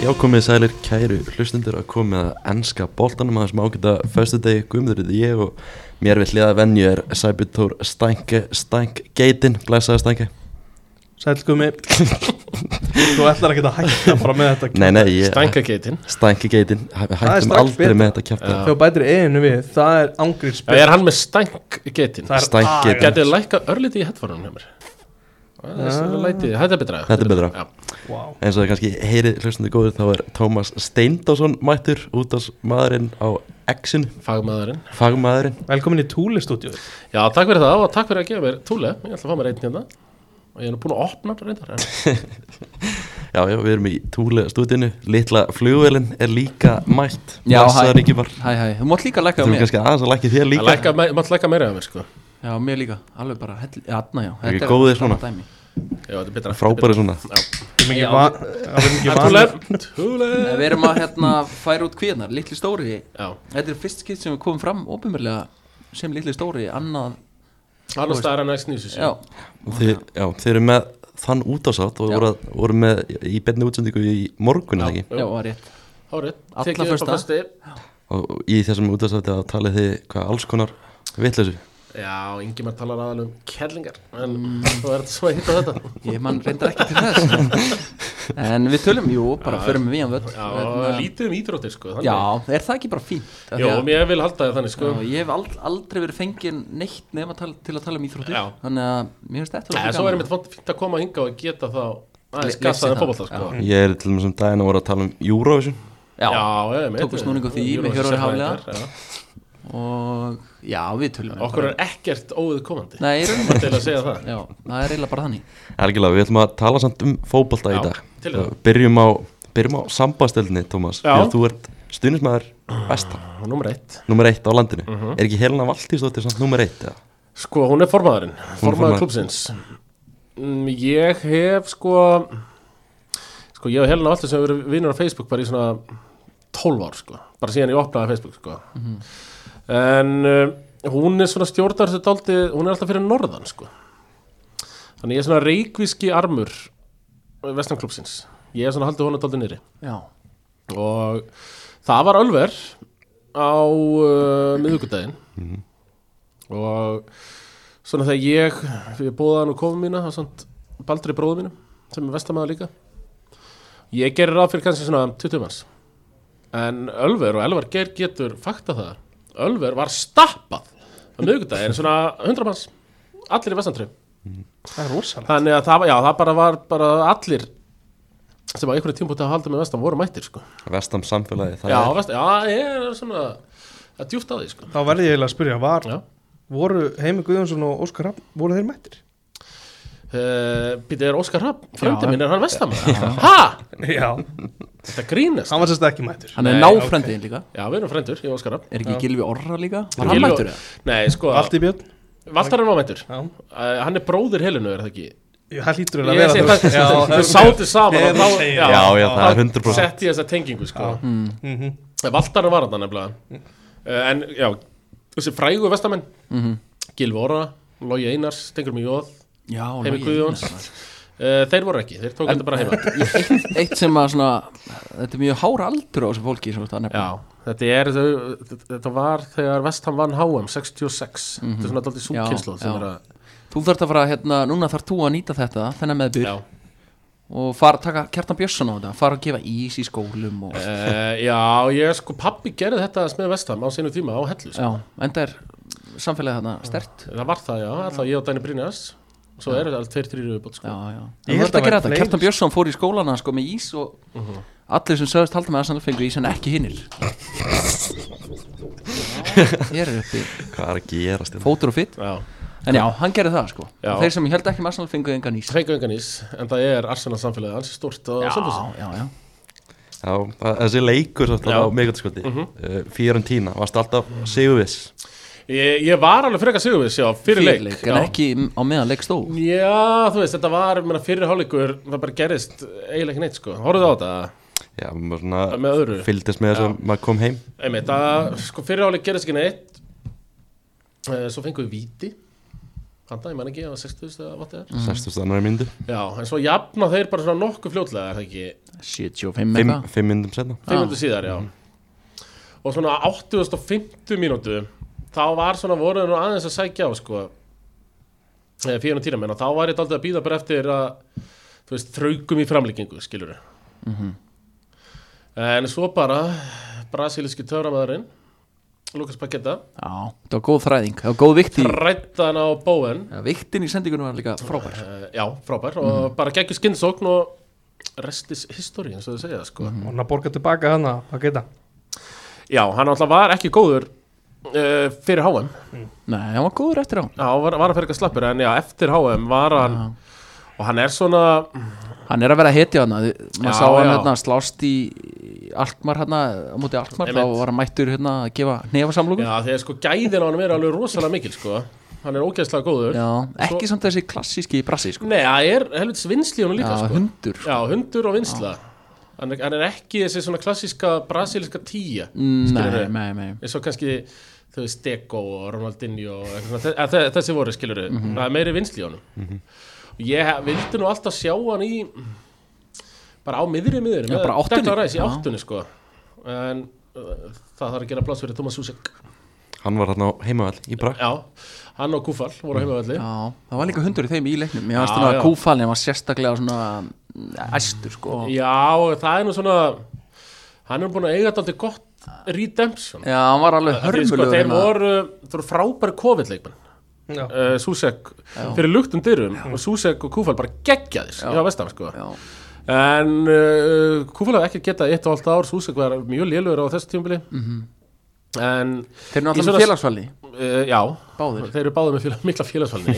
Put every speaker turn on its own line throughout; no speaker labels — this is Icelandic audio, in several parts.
Já, komið sælir kæru hlustundur að komið að enska boltanum að þessum ágæta föstudegi guðmundurðið ég og mér við hliða venju er Sæbjörn Stænke, Stænk Geitin, blæsaði Stænke
Sælgumi Þú ætlar ekki að hætta bara með þetta
Nei, nei, ég,
Stænkageitin
Stænke Geitin, hæ- við
Það er
hættum
strax
aldrei
betra.
með þetta kjæfta
Já.
Þegar bætir einu við, það er
Já,
angriðspil
er hann með stænkageitin
Það er
Stæk
aga.
getur.
Gætið lækka örlítið í hettfórunum hjá mér Það er lætið, þetta er betra
Ah. Þetta er betra.
Já.
wow.
Eins og það kannski heyrið hlustundur góður þá er Tómas Steindásson mættur út af maðurinn á X-inu,
Fagmaðurinn
fagmaðurinn
Velkomin í Túlistúdíu
Já, takk fyrir það og takk fyrir að gefa mér túle Ég ætla að fá mér einn hérna Og ég er nú búin að opna hann reyndar en-
Já, já, við erum í Túle stúdinu, litla flugvelin er líka mætt
Já, hæ,
Blessaður Ingimar.
hæ, hæ, þú mátt líka lækka á
Þú
mér
kannski aðeins að lækja þér
Að
líka
lækka me- Mátt lækka meira af mér sko Já,
Já, mér líka, alveg bara, hell, atna já
Ekki góðir
sama
svona.
dæmi.
þetta er betra
Frábæri svona
Við
Já.
erum ekki
Túle
vanir
Túle
Nei, Við erum að hérna færa út kvíðnar, litli stóri
Já,
Þetta er fyrst skipt sem við komum fram óbyrmurlega sem litli stóri, annað
annars staðar en næst nýsus
Já,
Þið, já, þið eru með þann útásátt og
Já.
voru, að- voru með í betni útsendingu í morgun eða ekki
já, var rétt
Hárið,
Alla
tekið upp á
föstudag.
fyrsti
og og í þessum útásátti að talið þið hvað alls konar vitleysu
Já, Ingimar talar aðal um kellingar En þú er þetta svo að hitta þetta
Ég mann reyndar ekki til þess En við tölum, jú, bara förum við í hann völd
Já, lítið um íþróttir sko þannig.
Hérna. Já, er það ekki bara fínt? Af því
Jó,
að-
ég vil halda það þannig sko
Já, Ég hef ald- aldrei verið fengin neitt nefn til að tala um íþróttir
Já.
Þannig að mér finnst þetta
Nei,
svolítið
svo er
gaman.
mér fint að koma hinga og geta þá aðeins
Le- lesa
gasaðan
það,
fótbolta sko.
Ég er til þessum daginn að voru að tala um Eurovision
Já,
Já,
já, ég
Tóku snúning á því með Hjörvar Hafliða. og já, við tölum um
Okkur
bara-
er ekkert óðu komandi
Nei, í rauninni
Bara til að segja það
Já, það er eiginlega bara þannig
Algjörlega, við ætlum að tala samt um fótbolta í
Já,
dag
til
Og
það.
Byrjum á, byrjum á sambastöldinni, Tómas
Já.
Þegar þú ert stuðnismæður besta,
Númer eitt
nummer eitt á landinu
Mhm.
Er ekki Helena Valtíðsdóttir samt nummer eitt? eða?
Sko, hún er formaðurinn
formaður.
Formaður klúpsins Mm, Ég hef sko Sko, ég og Helena Valdur sem verið vinnur á Facebook bara í svona 12 ár sko Bara síðan ég opnaði Facebook sko En uh, hún er svona stjórnar þessu daldi Hún er alltaf fyrir norðan sko Þannig ég er svona reikvíski armur Vestan klúpsins Ég er svona haldið hún að daldi niðri
Já,
og það var Ölver á uh, miðugudaginn og svona þegar ég ég bóða hann og kofa mína og svont Baldri bróðu mínum sem er vestamæður líka ég gerir ráð fyrir kannski svona 20 manns en Ölver og Elvar Geir getur fakta það Ölver var stappað á miðugudaginn svona 100 manns allir í vestantri
Það er rosalega
þannig að það, var- já, það bara var bara allir sem á einhvern tímpúti að halda með vestam voru mættir sko
Vestam samfélagi, það
Já,
er
veist, já, ég er svona Það er djúft að því, sko
Þá verði ég eiginlega að spyrja, var,
Já.
voru Heimi Guðjónsson og Óskar Rapp, voru þeir mættir?
uh, Býtið er Óskar Rapp,
Já.
frændi minn er hann vestamæður Ha?
Já,
Þetta grínast
hann var sérst ekki mættur
hann er
Nei,
náfrændin líka
Já, við erum frændur, ég og Óskar Rapp
Er ekki Gilvi Orra líka? Var hann
Gylfi-
mættur það?
Nei, sko,
Allt í björn
Valtarinn var mættur uh,
Já,
Hann er bróðir helinu, er það ekki?
Ég- það hlýtur eiginlega
Ég
að
sé
vera
það, þau sátu saman
Þegar
og
þú
þá-
segir
Já, já, það er 100%
Sett ég þessa tengingu, sko
Mhm.
Valtarinn var hann nefnilega uh, En, já, þessi frægu vestamenn
Mhm.
Gilvi Orra, Lógi Einars, Stengur Mjóð
Já,
Heimi
Logi
Guðjóns
Einarsson.
uh, Þeir voru ekki, þeir tók
En-
þetta bara heima
Eitt- Eitt sem að svona Þetta er mjög hára aldur á þessu fólki svo það nefnir
Já, þetta er þau, þetta var þegar Vestham vann HM 66 þetta er svona alltaf
Mhm. Já,
súkynslu sem
já.
er að
Þú þarft að fara hérna Núna þarft þú að nýta þetta Þennan meðbyr
já,
Og fara að taka Kjartan Björnsson á þetta Fara að gefa ís í skólum og
uh, já, ég sko pabbi gerði þetta aðeins með Vestham á sinu tíma á Hellu sko.
Já, enda er samfélagið þarna stert
það var það já, alltaf ég og Dæni Brynjas svo eru þetta tveir þrýri viðbútt sko.
Já, já
Ég
Þú
held
þarft
að
að
væri
gera þetta
fleiri. Mhm.
Kjartan Björnsson fór í skólana sko með ís og Allir sem sögðust halda með Arsenal fengu ís en ekki hinnir Ég er uppi
hvað er að gerast hérna?
fótur og fytt
já,
En já, hann gerði það sko
Já.
Þeir sem held ekki með Arsenal fenguði engan ís
fengu engan ís en það er Arsenal samfélagið alls stort á Sölfusson
já, já
Já, það- þessi leikur svo
Já. Mhm.
þetta á megatískoti mm Fiorentína, varst alltaf sigurviss
ég, ég var alveg frekar sigurvis já, fyrir leik,
Fyrirleik,
já.
En ekki á meðan leik stó
já, þú veist, þetta var meina, fyrir hálfleikur, það bara gerist eiginlega ekki neitt sko, horfðu á þetta
Já, maður svona
með öðru
fylgdist með þess að maður kom heim
Einmitt, að sko fyrirháleik gerðist ekki neitt Eh, Svo fengum við víti panta, ég man ekki, það var 60 eða vatið er
Mhm.
60 annar myndu
Já, en svo jafna þeir bara svona nokkuð fljótlega, er það ekki
75
5,
eitthvað
5 myndum setna
Ah.
500 síðar, já og svona 850 mínútu þá var svona voruð nú aðeins að sækja á sko eh, fyrir tíra menn og þá var ég daldið að býða bara eftir að þú veist, þraugum í framlíkingu skilur en svo bara brasilíski töframæðurinn Lukas Paqueta
Já, það var góð þræðing, það var góð vikti
rættan á bóen
Já, Viktin í sendingunum var líka frábær
uh, já, frábær
Mhm.
og bara geggjur skinnsókn og restis history eins og þau segja sko
Mhm.
Og hann að borga tilbaka hana, að geta
já, hann alltaf var ekki góður uh, fyrir HM
Nei, hann var góður eftir á
Já, var, var að fyrir eitthvað slappur en já, eftir HM var hann og hann er svona,
Mhm. Hann er að vera hetja hann Man
Já,
sá hann
já.
hérna slást í Alkmar hérna, á móti Alkmar Þá
Einmitt.
var hann mættur hérna að gefa
já
nefasamlugum Já,
þegar sko gæðin á hann er alveg rosalega mikil sko, hann er ógeðslega góður
ekki samt þessi klassíski brassi sko.
Nei, það er helvits vinsli hann Mm, líka
Já,
sko
hundur
Já, hundur og vinsla hann er, hann er ekki þessi svona klassíska brasilíska tíja
Mm, Nei,
Skilurðu?
nei, nei
eins og kannski þau veist Deco og Ronaldinho og eitthvað svona, þe- þe- þessi voru skilur
Mhm.
það er meiri vinsli í honum og ég hef- vildi nú alltaf sjá hann í bara á miðri miðri
Já, bara áttunni.
ræs í
Já.
áttunni sko en uh, það þarf að gera pláss fyrir Thomas Susek
Hann var hann á heimavall í Brak
já, hann og Kúfal voru heima velli
Já, það var líka hundur í þeim í leiknum Mér varst
Já,
þannig
já.
að kúfalinn var sérstaklega svona mm, æstur sko
já, og það er nú svona hann er búin að eiga þetta gott
Ah.
redemption
Já, hann var
Því,
alveg
sko,
hörmulegur
þeir
hérna.
voru, þeir voru frábæri COVID-leikmenn
Já.
uh, Susek fyrir luktum dyrum og Susek og Kúfal bara geggjaðis hjá vestam sko.
Já.
en uh, Kúfal hafði ekki getað eitt og allt ár Susek var mjög lélugur á þessu tímabili
Mhm.
en
Þeir eru
Í
náttúrulega
svona-
með félagsfæli
uh, já,
Báðir.
þeir eru báðir með félag, mikla félagsfælni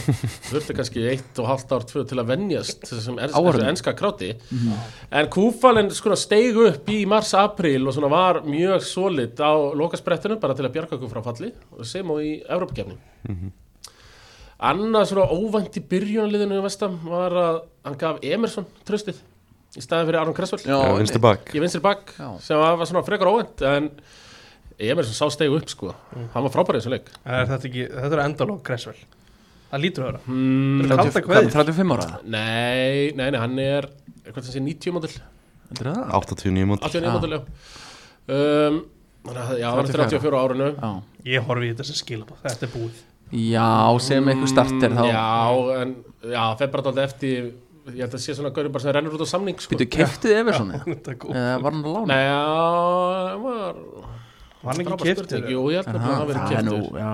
þurfti kannski eitt og halvt ár tvö til að venjast þessum er,
Áhorfum.
þessu enska kráti en Kúfalinn skona steig upp í mars-april og svona var mjög solid á lokasprettinu bara til að bjarga okkur frá falli sem og í Evrópakefni annað svona óvænt í byrjunaliðinu í vestam var að hann gaf Emerson tröstið í staðin fyrir Aron Kressvöld
Já,
Já, vinstu bak
í vinstri bakk
Já.
sem var var svona frekar óvænt en Emerson sá steig upp sko hann var frábærið sem leik
Er þetta ekki, þetta er endalók Kressvel Það lítur að vera
mm,
Þetta er kalda
30 hvað,
kveðið
35 ára
Nei, nei, nei, hann er eitthvað sem sé 90 mótil
Heldur það?
89 múnd
89
Ah.
ah. mótil, já um, Þannig að, já, hann er
34.
34 á árinu
Já.
Ég horfi í þetta sem skilabóð, þetta er búið
Já, sem eitthvað um starter þá
Mm, Já, en, já, fer bara alltaf eftir Ég held að sé svona gaurið bara sem rennur út á samning sko.
Býtu, keftið Everson eða?
Þetta er góð
Eða var hann að lána?
Nei, já, hann var
Var hann ekki
frábær
keftur
spurning. Jú, ég held að hann hafi verið
það er nú,
keftur
já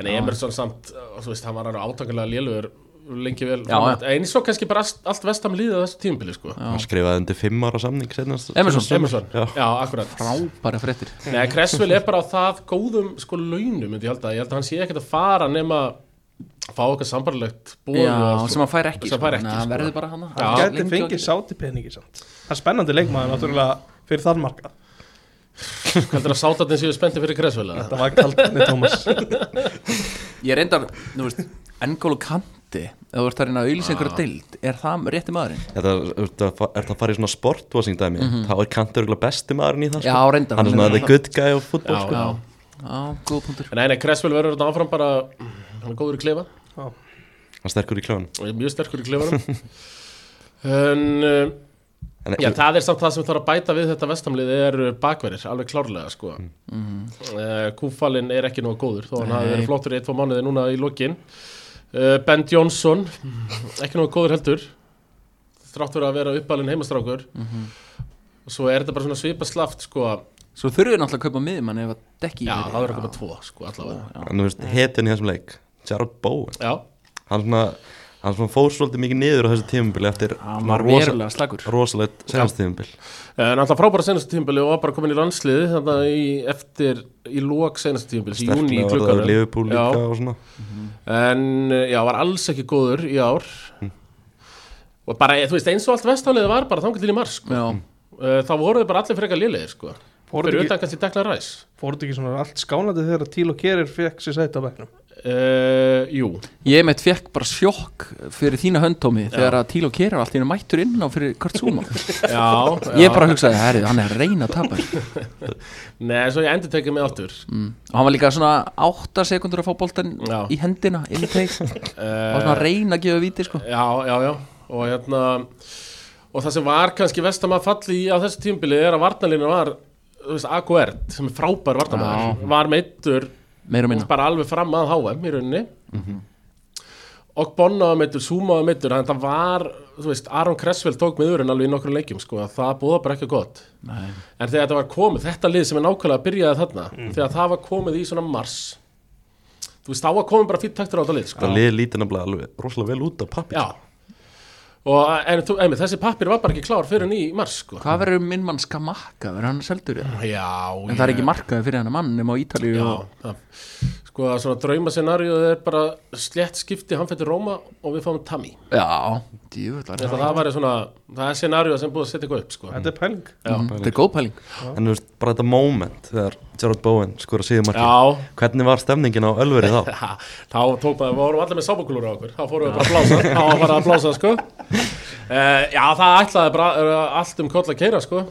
En Emerson samt, uh, þú veist, hann var hann átangilega lélugur lengi vel
Já,
framhætt. eins og kannski bara allt, allt vestam líða þessu tímpili sko.
Hann skrifaði undir 5 ára samning senast
Emerson,
Emerson,
Já.
já, akkurat
frábæra fréttir
Nei, Cresswell er bara á það góðum sko launum, myndi ég halda. Ég held að hann sé ekkert að fara nema að fá eitthvað sambarlegt búið.
Já, sem hann fær ekki
Sem hann fær ekki,
þannig að hann
sko.
verður bara hann
Já.
Hann gæti fengið sáti peningi samt Það er spennandi leikmaður náttúrulega fyrir þann marka
Heldur að sátatinn séu spenntið fyrir Cresswell? eða?
Þetta var kaldinni Tómas
Ég reyndar, þú veist, N'Golo Kanti Ef þú ert að reyna að auðlýsa einhverja deild Er það rétti maðurinn?
Þetta er þetta að fara í svona sportwashing dæmi Þá er Kantur örugglega besti maðurinn í það
Mhm. Já,
sko.
reyndar
Hann er svona the good guy á
Já,
fútbol sko.
já.
Já, góð punktur
Nei, nei, Cresswell verður þetta áfram bara, mm, hann er góður í klefa
Hann er sterkur í kljóðan
og er mjög sterkur í klefanum. en, um,
En
já, það er samt það sem þarf að bæta við þetta vestamlið eru bakverðir, alveg klárlega, sko. Mm. Kúfalinn er ekki nógu góður, þó hann hafi verið flottur í ein-tvo mánuði núna í lokin. Uh, ben Johnson, ekki nógu góður heldur, þrátt fyrir að vera uppalinn heimastrákur. Mm-hmm. Og svo er þetta bara svona svipa slaft, sko.
Svo þurfum við náttúrulega að kaupa miðmann ef að dekki
Já, það verður að koma tvo, sko, allavega.
En þú veist, hetjan í þessum leik Gerard Bowen
Já,
Hann svona, hann svona fór svolítið mikið niður á þessu tímumbil Eftir
Hann
svona
var
rosa-
verulega slagur
rosalegt senast tímumbil
Eh, en alltaf frábæra senastu tímbili og var bara komin í landslið þannig að í, eftir, í lók senastu tímbili, í
Sterkna
júni í
var það
klukkanum.
Liverpool
Já.
líka og svona
En eh, já, var alls ekki góður í ár Og bara, eh, þú veist, eins og allt vestafliðið var bara þangar til í mars sko.
Já,
Eh, Þá voru þið bara allir frekar lélegir sko.
Fór
Fyrir
þetta
utan kannski Declan Rice
ekki, ekki svona allt skánandi þegar að Tíl og Kerir fekk sér sæti á bekknum
Mm. uh, Jú,
Ég meitt fekk bara sjokk fyrir þína höndtómi þegar að Tíl og Kera allt í hennu mættur inn á fyrir Kurt Zuma
já, já.
Ég bara hugsaði, herri, hann er að reyna að tapa þessu."
Nei, svo ég endur tekið mig aftur
mm. Og hann var líka svona 8 sekundur að fá boltan
Já.
í hendina inn í teik Og svona að
uh,
reyna að gefa víti sko
Já, já, já Og hérna Og það sem var kannski vest að maður falli í á þessu tímbili er að varnalínu var þú veist, AQRT sem er frábær varnamæður var meittur
Meira og minna
bara alveg fram að HM í rauninni og Bonna var meittur, Zuma var meittur þannig að það var, þú veist, Aron Kressfeld tók miðurinn alveg í nokkru leikjum sko, að það búða bara ekki gott
Nei.
En þegar þetta var komið, þetta lið sem er nákvæmlega byrjaði þarna,
Mm.
þegar það var komið í svona mars þú veist, þá var komið bara fýtt taktur á þetta lið, sko.
Það liði lítið nefnilega alveg rosalega vel út á pappi
Já. Og, en þú, einmitt, þessi pappir var bara ekki klár fyrir henni í mars, sko.
Hvað verður minn mann skamakka? Verður hann seldur í það?
Já,
En það er ekki markaði fyrir hennar mann nema á Ítalíu
Já,
og...
það, sko, að svona draumasenarjóð er bara slett skipti, hann fættir Róma og við fáum Tami.
Já, djúvöldar
Ég held að það væri svona, það er senarjóð sem búið að setja eitthvað upp, sko.
Þetta er pæling
Mm, Þetta er góð pæling
En þú veist, bara þetta moment þegar Gerard Bowen skora síðumarki
Já,
Hvernig var stemningin á Ölveri þá?
Ha, þá tók maður, við vorum allir með sábakulur á okkur þá fórum við bara að blása þá var bara að blása sko uh, já það ætlaði bara uh, allt um koll að keira sko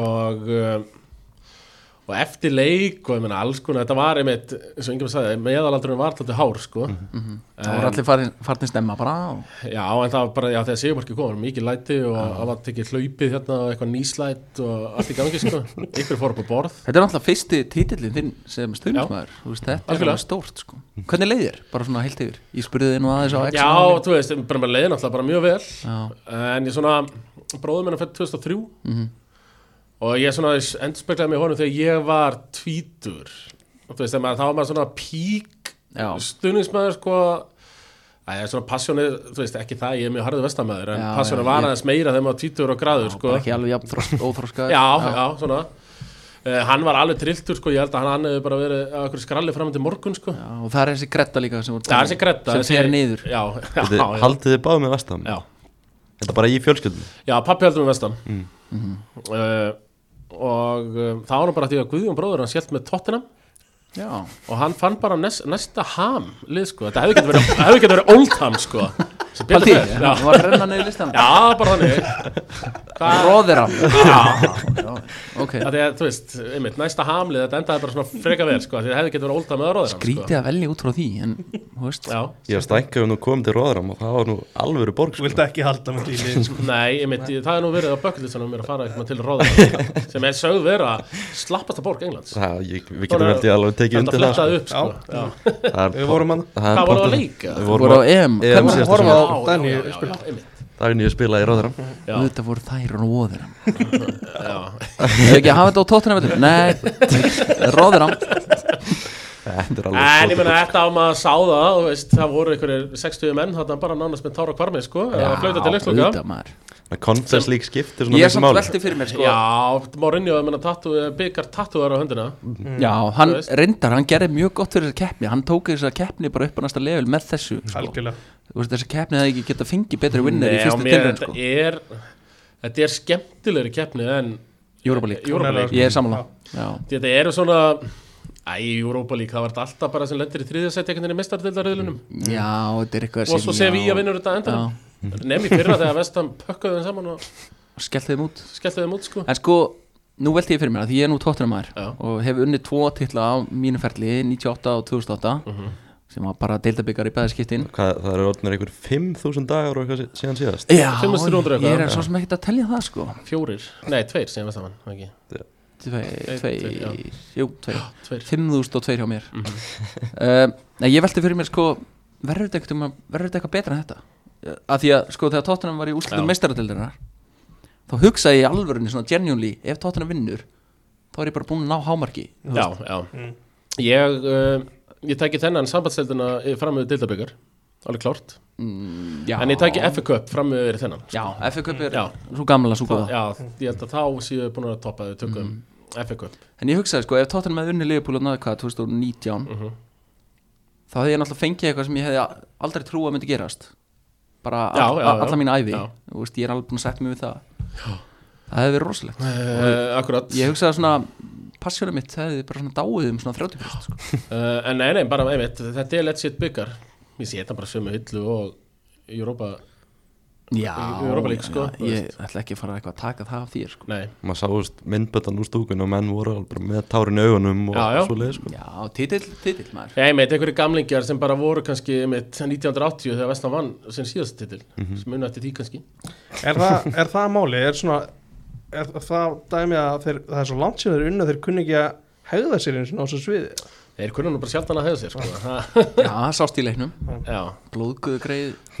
og uh, og eftir leik og ég meina alls konar þetta var einmitt, eins og yngjum sagði meðalaldurinn var alltaf hár sko
Það voru allir farin, farin snemma bara og...
já en það var bara, já þegar Sigurmarki kom var mikið læti og það var tekið hlaupið hérna og eitthvað nýslætt og allt í gangi sko ykkur fór upp á borð
Þetta er náttúrulega fyrsti títillin þinn sem stundumæður Þetta er
Algjörlega.
alveg stórt sko Hvernig leiðir? Bara svona heilt yfir Ég spurði þið nú aðeins á X
já
málinu.
þú veist, bara með leiðin alltaf bara mjög vel
Já,
En ég svona, bróðum hennar fætt 2003
Mhm.
og ég svona endurspeklaði mig í honum þegar ég var tvítur. Þú veist, þegar maður, þá var maður svona pík
já,
stuðningsmaður, sko, að ég er svona passjónið, þú veist, ekki það, ég er mjög harðu vestamæður, en
Já,
passjónið
já,
var
ég-
aðeins meira þegar maður var tvítur og gráður,
já
sko.
bara ekki alveg jafn þrosk, óþroskaður
Já, já, svona. Uh, hann var alveg trilltur, sko, ég held að hann, hann hefði bara verið að okkur skralli fram til morgun, sko.
Já, Og það er þessi gretta líka sem voru
Það er þessi gretta.
Sem fer niður
Já, já,
Þið,
já.
haldið þið báð með vestam?
já.
Þetta bara í fjölskyldinu?
Já, pappi heldur með vestan uh, Og um, það var nú bara því að Guðjón bróður hans hjælt með tóttinam
Já,
Og hann fann bara næst, næsta ham lið, sko. Þetta hefði getur verið, hefði getur verið old ham sko. Sem betur
Paldi,
fer, já.
það var að renna niður listan
já, bara þannig
Róðir hann
Já,
Já, Ok
það er, þú veist, einmitt, næsta hamlið Þetta endaði bara svona freka vel, sko af því Það hefði getur verið old ham eða róður
Grítið að velja út frá því En, þú veist
sko. Já,
Ég var stænkað um nú komið til Róðram og það var nú alvöru borg
Þú
sko.
vilt ekki halda með Tíli sko.
nei, einmitt, ég- það er nú verið á bökkulistanum mér að fara eitthvað til róður sem er sögð vera slappasta borg Englands
Það, ég, við getum
Bara-
held ég alveg tekið
Þetta
undir það
flettaði upp, sko
Já.
Já.
sko. Það
Við vorum hann
það
Hvað voru að
pottet-
leika?
Við
Voru á
vorum á
EM
Ég-
hvernig-
síðasta
Horfa á
Já,
Daníu
já, já,
spila.
já, einmitt.
daginn ég spilaði í Róðram
Já,
Auðvitað voru þær róðir hann
já.
Ég ekki að hafa þetta á tóttina veitur Nei, róðir hann
Þetta er
En ég
alveg
meina þetta á maður sá það þú veist, Það voru einhverjir 60 menn Þarna bara nánast með tára kvarmi sko, að flauta til leikslokka
auðvitað maður
Confess League skiptir svona
Ég er
mikið
samt
máli
velti fyrir mér sko
Já, Mourinho ég meina, tattu, byggar tattúar á höndina
Já, hann
Þú veist.
reyndar, hann gerði mjög gott fyrir þessa keppni Hann tók þessa keppni bara upp á næsta level með þessu sko.
Algjörlega
Þú veist, Þessa keppni hefði ekki geta fengið betri vinnir í
Nei, og
fyrstu
mér-
tilraun
þetta
sko.
er Þetta er skemmtilegri keppni en
Europa League
Europa League
Ég er sammála Já,
Þetta eru svona Æ, Europa League, það var þetta alltaf bara sem lendir í þriðasætti einhvern veginn í mestardeildarriðlunum
já þetta er eitthvað
og svo sé við að vinna þetta enda
Mm. Já. Mm.
Nefn í fyrra þegar Vestam pökkaði þeim saman og
Skellt þeim út
skellti þeim út sko
En sko, nú velti ég fyrir mér að því ég er nú tóttunum maður
Já.
og hef unnið tvo titla á mínu ferli 98 og 2008
Mhm.
sem var bara deildabikar í bæðiskiptin
Hvað, það eru orðnir einhver 5.000 dagar og eitthvað sí- síðan síðast
Já,
500 eitthvað.
ég er svo sem ekkert að telja það sko
Fjórir, nei, tveir sem við saman ekki.
Tvei,
Einn, tveir, já. Mhm.
tvei, jú, tvei
Tveir
5002 hjá mér mm Nei, ég velti fyrir mér sko verður þetta eitthvað, verður þetta eitthvað betra en þetta Eh, að því að sko þegar tóttunum var í úrslutum
Já.
meistaradildarinnar þá hugsaði ég í alvörunni svona genuinely ef tóttunum vinnur þá er ég bara búin að ná hámarki
Já, já Ég, uh, ég tæki þennan sambandseldina fram með Dildabyggar Alveg klárt
mm, já.
En ég tæki FA Cup fram með þennan
Já, FA Cup er
Já.
svo gamla, svo
Þá,
góða
Já, ég held að þá séu við búin að toppa að við tökum
Mm.
FA Cup
En ég hugsaði sko, ef Tottenham hefði unni Liverpool og náði hvað, 2019
Mhm.
Þá hefði ég náttúrulega fengið eitthvað sem ég hefði a- aldrei trú að myndi gerast Bara
Já,
all,
já, já.
alla mín ævi
Já.
Þú veist, ég er alveg búin að setja mig við það já. það hefði verið rosalegt
uh, Akkurat
Eh, ég hugsaði svona, passjónum mitt hefði bara svona dáið um svona 30% sko.
uh, En nei, nei, bara einmitt Þetta er Let's Shit byggar Ég sé þetta bara sömu hillu og Europa
já,
Europa League, sko, þú
ég ætla ekki að fara eitthvað að taka það af þér sko.
Nei,
maður sáðist myndbötan úr stúkun og menn voru alveg bara með tárin í augunum og
Já, já.
svo leið sko.
já, titill, titill maður
Nei, meit, einhverju gamlingjar sem bara voru kannski meit, 1980 þegar Vestna vann sem síðast titil,
Mhm.
sem unna eftir því kannski
er, það, er það máli, er svona er það dæmi að þeir, það er svo langt sem þeir unna þeir kunni ekki að hegða sér eins og á þessu sviði
Þeir kunna nú bara sjaldan að hefða sér sko. Ha,
já, það sást í leiknum,
Já,
blóðguðu greið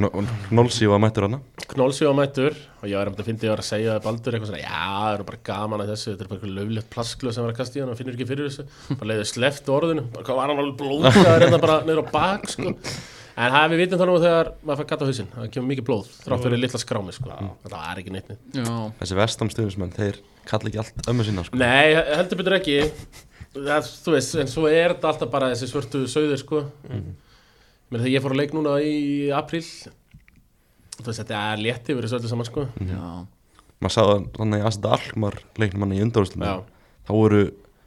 Nólsi var mættur hana
knólsjóðamættur og ég var einmitt að fyndi ég var að segja að Baldur eitthvað svona, já, það er nú bara gaman að þessu þetta er bara eitthvað löflegt plasklu sem var að kasta í hann og finnur ekki fyrir þessu, bara leiði sleft orðinu bara hvað var hann alveg blóðgæður þetta bara niður á bak sko. en það við vitum þannig að þegar maður fær katt á hausinn, það kemur mikið blóð þrátt fyrir litla skrámi, sko. það er ekki neitt neitt
já,
þessi vestamstuðnismenn, þeir kalla ekki allt ömmu sína sko.
Nei, heldur betur ekki það, Þú veist, en svo er þetta alltaf bara þessi svörtu sögður sko Mér þegar ég fór að leik núna í apríl Þú veist, þetta er létt yfir þessu öllu saman sko
já,
maður sáða þannig að Asita Alkmar leiknum hann í undarústum
Já.
þá voru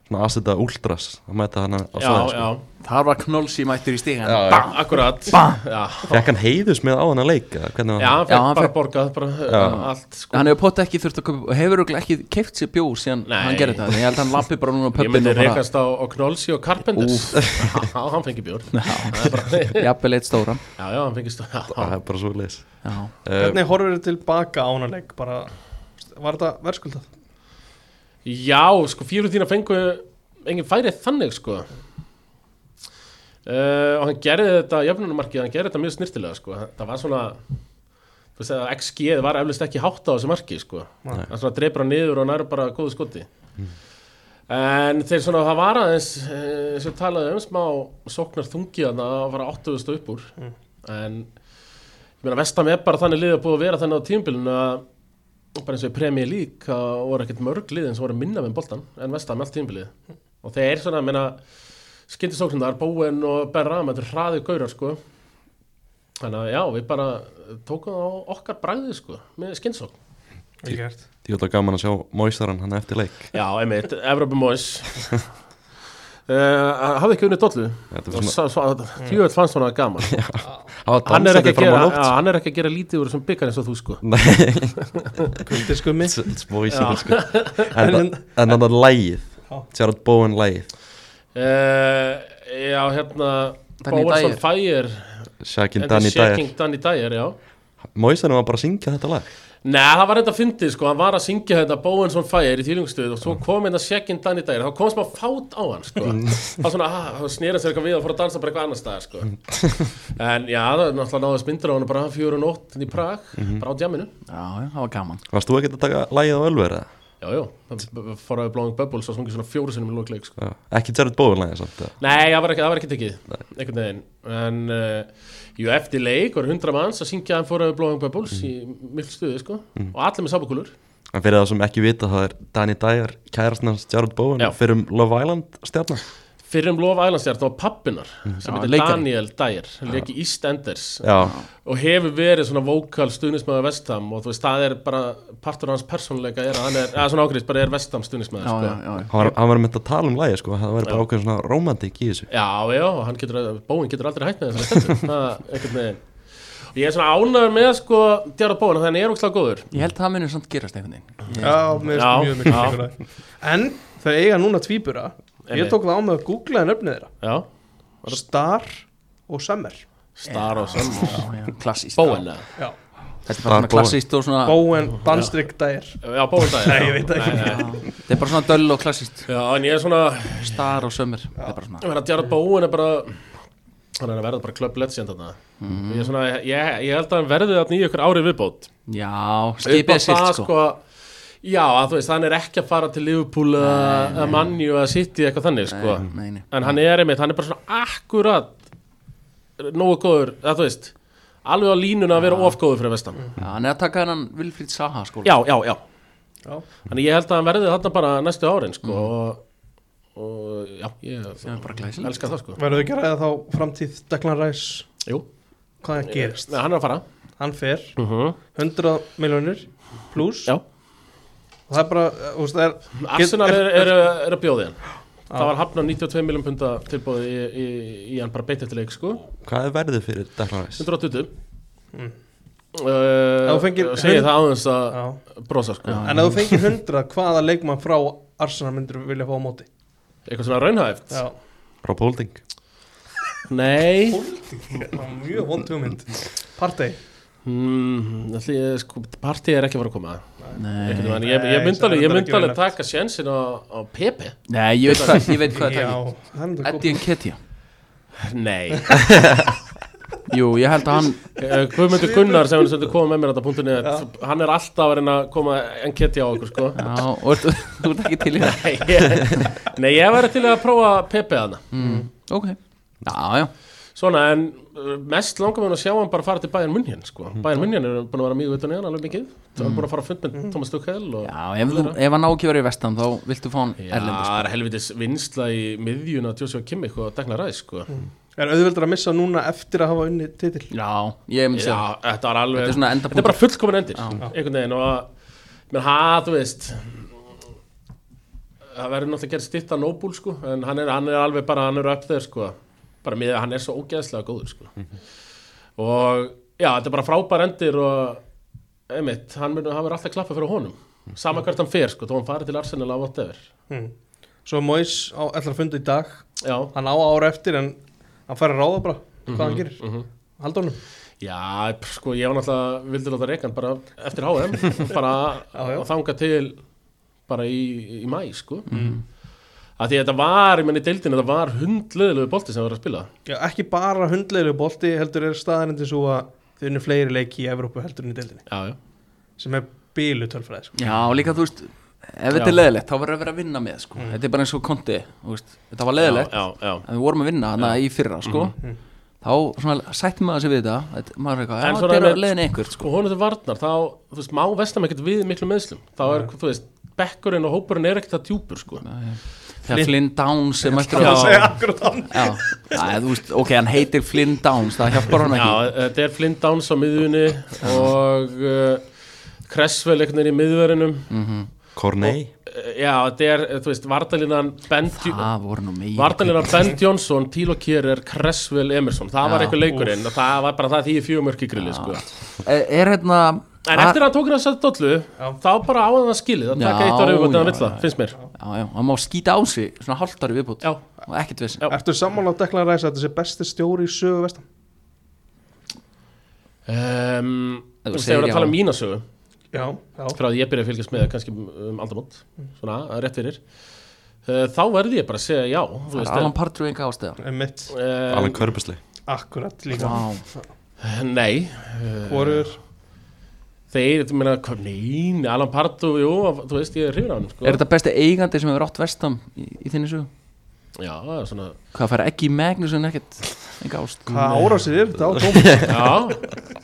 svona Asita Ultras að mæta hann á
Já,
svæði
já,
sko.
þar var knólsi mættur í stígan já,
bam, akkurat bam. Já,
fekk hann heiðus með á hann að leika hvernig
já,
var
hann
Já,
fekk
hann
bara
fékk-
borgað bara uh, allt sko
hann hefur pott ekki þurft að köpa og hefur örugglega ekki keift sér bjóð síðan
Nei.
hann gerði það, ég held að hann lappi bara núna á
Ég myndi
pöppinu og bara,
rekast á, á Knolsi og Carpenters Já, hann fengi bjór Já, það er bara-
jafnvel eitt stóran
já, já, hann fengi stóð
það er bara Eh, svo leis
já,
Eh.
Hvernig horfir þið tilbaka ánanleik bara, var þetta verðskuldað?
Já, sko, fjóru þína fengu engin færið þannig, sko uh, og hann gerði þetta jöfnumarkið, hann gerði þetta mjög snirtilega, sko það var svona þú veist að XG var eflust ekki hátt á þessu marki, sko
Nei.
hann svona dreipur hann niður og nær bara góðu skoti en þeir svona, það var aðeins eh, eins og talaði um smá sóknar þungi að það var 8000 upp úr en ég meina vestam er bara þannig lið að búið að vera þannig á tímbilinu að bara eins og í Premier League að voru ekkert mörg liðin sem voru minna með boltan en vestam allt tímbilið og þeir er svona, meina skyndisóknundar, Bóen og Ben Ram þetta er hraðið gaurar sko þannig að já, við bara tókum á okkar bragðið sko, með skyndisókn
Ekki gert
ég ætla gaman að sjá Moisaran hann eftir leik
Já, einmitt, Evropa Mois Uh, hafði ekki unnið dollu
Þetta var
og svo, svo, tjóðvöld fannst hún að gaman hann
hann
er, ekki að gera, já, hann er ekki að gera lítið úr sem byggar eins og þú
Mm.
sko
Nei,
Kuldiskummi
it's Moisaran sko. en þannig að lægið
Já.
Gerard Bowen lægið
Uh, já, hérna
Danny
Bowers on
Dyer.
Fire
Shakin
and
Danny
the
Dyer
Shaking Danny Dyer, já
Moisaran var bara að syngja þetta lag
Nei, það var þetta fyndið sko, hann var að syngja þetta Bowens on Fire í þýlingsstöðu og svo
Mm.
kom hérna Shaking Danny Dyer, þá kom smá fát á hann sko, þá svona, ah, þá snýr hann sér eitthvað við og fór að dansa bara eitthvað annar staðar sko
Mm.
en já, það er náttúrulega náðist myndir á hann bara fjóru nótt hérna í Prag,
Mhm.
bara á djaminu
já, já, það var gaman
varst þú ekki að taka lægið á Ölver eða?
já, já, það fór að við Blowing Bubbles og sungið svona fjóru sinnum í lokleik sko
Já. ekki Gerard Bowen lægið samt eða?
Nei, það var ekki, það var ekki tekið einhvern veginn en uh, jú, eftir leik voru hundra manns að syngja hann fóraðu Blowing Bubbles
Mm.
í miklu stuði sko og allir með sábakúlur
En fyrir það sem ekki vita það er Danny Dyer, kærastan hans Gerard Bowen
Já.
fyrir um Love Island stjarnar
fyrir um Lofa Ælandsjart og pappinar sem
Já,
heitir
leikari.
Daniel Dyer hann leik í EastEnders
Já,
og hefur verið svona vókal stuðnismæður Vestham og þú veist, það er bara partur af hans persónuleika er að hann er, að svona ákveðis bara er Vestham stuðnismæður
já,
sko.
já, já, já.
hann var, hann var með að tala um lægi sko, það væri bara ákveðin svona romantik í þessu
Já, já, og hann getur, Bóin getur aldrei hægt með þessari stendur Það, einhvern veginn Og ég er svona ánæður með, sko, Djarað Bóin Þannig er ógslag góður
ég held það munir samt gerast einhvern veginn
Já, mér
Já,
finnst mjög mikið
já.
mikilvæg En þau eiga núna tvíbura Ég
Einmitt.
tók það á mig að googlaði nöfnið þeirra
Já,
Star og Summer
Star og Sam
klassíst
Bóin, eða?
Já.
þetta er bara svona
Bowen.
klassíst og svona
Bowen, Danstrik, Dyer
Já, Bóin það
Nei, ég veit það ekki.
þetta er bara svona döll og klassíst
Já, en ég er svona
star og sömur þetta er bara svona
Djarað Bóin er bara Hann er að verða bara Club Legend þarna
Mhm.
Ég er svona, ég, ég held að hann verði þarna í ykkur árið viðbót
já,
Upp á
skipið er
það,
silt sko
Já, að þú veist, hann er ekki að fara til Liverpool að að Manju að City eitthvað þannig, sko
Nei, nei, nei.
en hann er einmitt, hann er bara svona akkurat nógu góður, það þú veist alveg á línuna að vera ofgóður fyrir vestan
Já, hann er að taka hennan Vilfríð Saha sko
já, já, já,
Já.
þannig ég held að hann verði þarna bara næstu árin
Mhm.
sko og, og já, ég
sem er bara glæsilegt
elska það sko
Verðu ekki að ræða þá framtíð Declan Rice
Jú,
Hvað hann gerist
Nei, hann er að fara
Hann fer
uh
100 miljonir pluss
Já,
og það er bara, eh, þú veist, það er
Arsenal er, er, er að bjóði hann
Já.
Það var hafnað 92 miljón punda tilbúið í, í, í hann bara beint eftir leik sko
Hvað er verðið fyrir Declan Rice?
120
Mm.
Uh,
Ef þú fengir
segir
hund-
það aðeins að
já.
brosa sko
Já.
En ef þú fengir 100, hvaða leikmann frá Arsenal myndur vilja fá á móti?
eitthvað svona raunhæft
Já,
Rob Holding
nei
það var mjög vond hugmynd Partey
mm, ætli ég- sko, partí er ekki að fara að koma Einhvern
Nei,
veginn, ég, ég
Nei,
myndi
það er
alveg, ég
ekki
myndi alveg
raunhæft.
taka sjensin á, á Pepe
Nei ég veit hvað, ég veit hvað
Já,
það
hann
er
er
Eddie Nketiah
Nei,
Jú, ég held að hann
Eh, Guðmundur Gunnar sem er sem koma með mér þetta punktinni hann er alltaf að reyna að koma enketti á okkur sko
Já, og ertu- þú ert ekki til í það
Nei, ég- Nei, ég væri til að prófa Pepe hana
Ok, já, já
Svona, en uh, mest langar mér að sjá hann bara fara til Bayern München sko. Bayern München er búin að vera mjög utan í hann alveg mikið hann er búin að fara að fund með Thomas Tuchel og...
Já, ef, þú, sko. ef hann á ekki verið í vestan þá viltu fá hann
Já,
erlendis sko.
það er helvitis vinsla í miðjuna Joshua Kimmich og Dagnar Ræs sko.
Er auðveldur að missa núna eftir að hafa unni titil
Já, ég myndi
Já,
segja
þetta var alveg
um Þetta er svona
Þetta er
endapunktur
bara fullkomin endir einhvern veginn og menn hann, þú veist það verður náttúrulega gerð stýttan nóbúl sko, en hann er, hann er alveg bara hann er upp þeir sko, bara með hann er svo ógeðslega góður sko og já, þetta er bara frábær endir og einmitt, hann mun- hann verður alltaf klappa fyrir honum, sama hvert hann fer sko, þó hann farið til Arsenal á whatever
hmm. Svo Mois á- ætlar að funda í dag
já,
Hann á ára eftir en hann fær að ráða bara hvað hann gerir mm -hmm. honum
já, pff, sko, ég var náttúrulega vildi láta reykan bara eftir HM bara
Já, já.
að þanga til bara í, í mæ, sko
Mm.
að því að þetta var, ég menn í deildinu þetta var hundleðilegu bolti sem var að spila
Já, ekki bara hundleilegu bolti heldur er staðarindi svo að þau unni fleiri leiki í Evrópu heldur unni deildinni
já, já,
sem er bílu tölfræði sko.
Já, og líka þú veist Ef þetta er
Já. Mm.
leðilegt, þá verður að vera að vinna með sko. Þetta er bara eins og konti, þú veist Þetta var leðilegt,
já, já, já. Mm,
en við vorum að vinna hana í fyrra, sko Þá svona, sættum maður sig við þetta þetta- Maður er eitthvað,
En
já,
svona
þetta er
með-
að leiðin einhver sko.
sko honum til varnar þá, þú veist, má vestam ekkert við miklum meðslum þá er, þú veist, bekkurinn og hópurinn er ekkert að djúpur, sko
Þegar Flynn Downs er mættur
Það
á
segja akkurat hann
Já, Æ, þú veist, ok, hann heitir Flynn Downs Það hjálpar hann
já,
ekki
þetta er Flynn Downs á miðjunni og uh, Cresswell einhvern veginn í miðverinum
Mm.
Corney
já, þetta er, þú veist, Vardalinan Ben,
Það voru nú meira
Vardalinan Ben Johnson Tílo Kjærer, Cresswell Emerson það var
Já.
eitthvað leikurinn, og það var bara það því í fjögumörk í grilli, sko
Er, er hérna
en eftir að hann tók hann að setja dollu þá bara áðan að skilið, það taka
Já,
eitt orðið og
já,
það vill það,
já.
finnst mér
Já, já, hann má skýta á sig Svona hálftari viðbútt
já,
Og ekkert vissin
Já.
Ertu sammála á Deklan Ræs að þetta sé besti stjóri í sögu vestan?
um,
Ef þú
þú veist,
segir
þegar við erum
já.
að tala um mína sögu
Já, já
frá því ég byrjaði að fylgjast með kannski um aldamót svona, rétt fyrir uh, þá verði ég bara að segja já þú veist, eh,
Alan Partru enga ástæða
Mitt,
en-
Alan Körbisli
akkurat líka
Vá,
um, nei eh,
Hvorur
þeir, þú meina, kom, nein Alan Pardew, jú, af- þú veist, ég er hrifin á hann sko.
Er þetta besti eigandi sem hefur átt vestam í, í þinni sögu?
já, svona,
Hvað fær ekki í Magnus en ekkert enga ást
Hvað árásir er þetta á Tómas?
já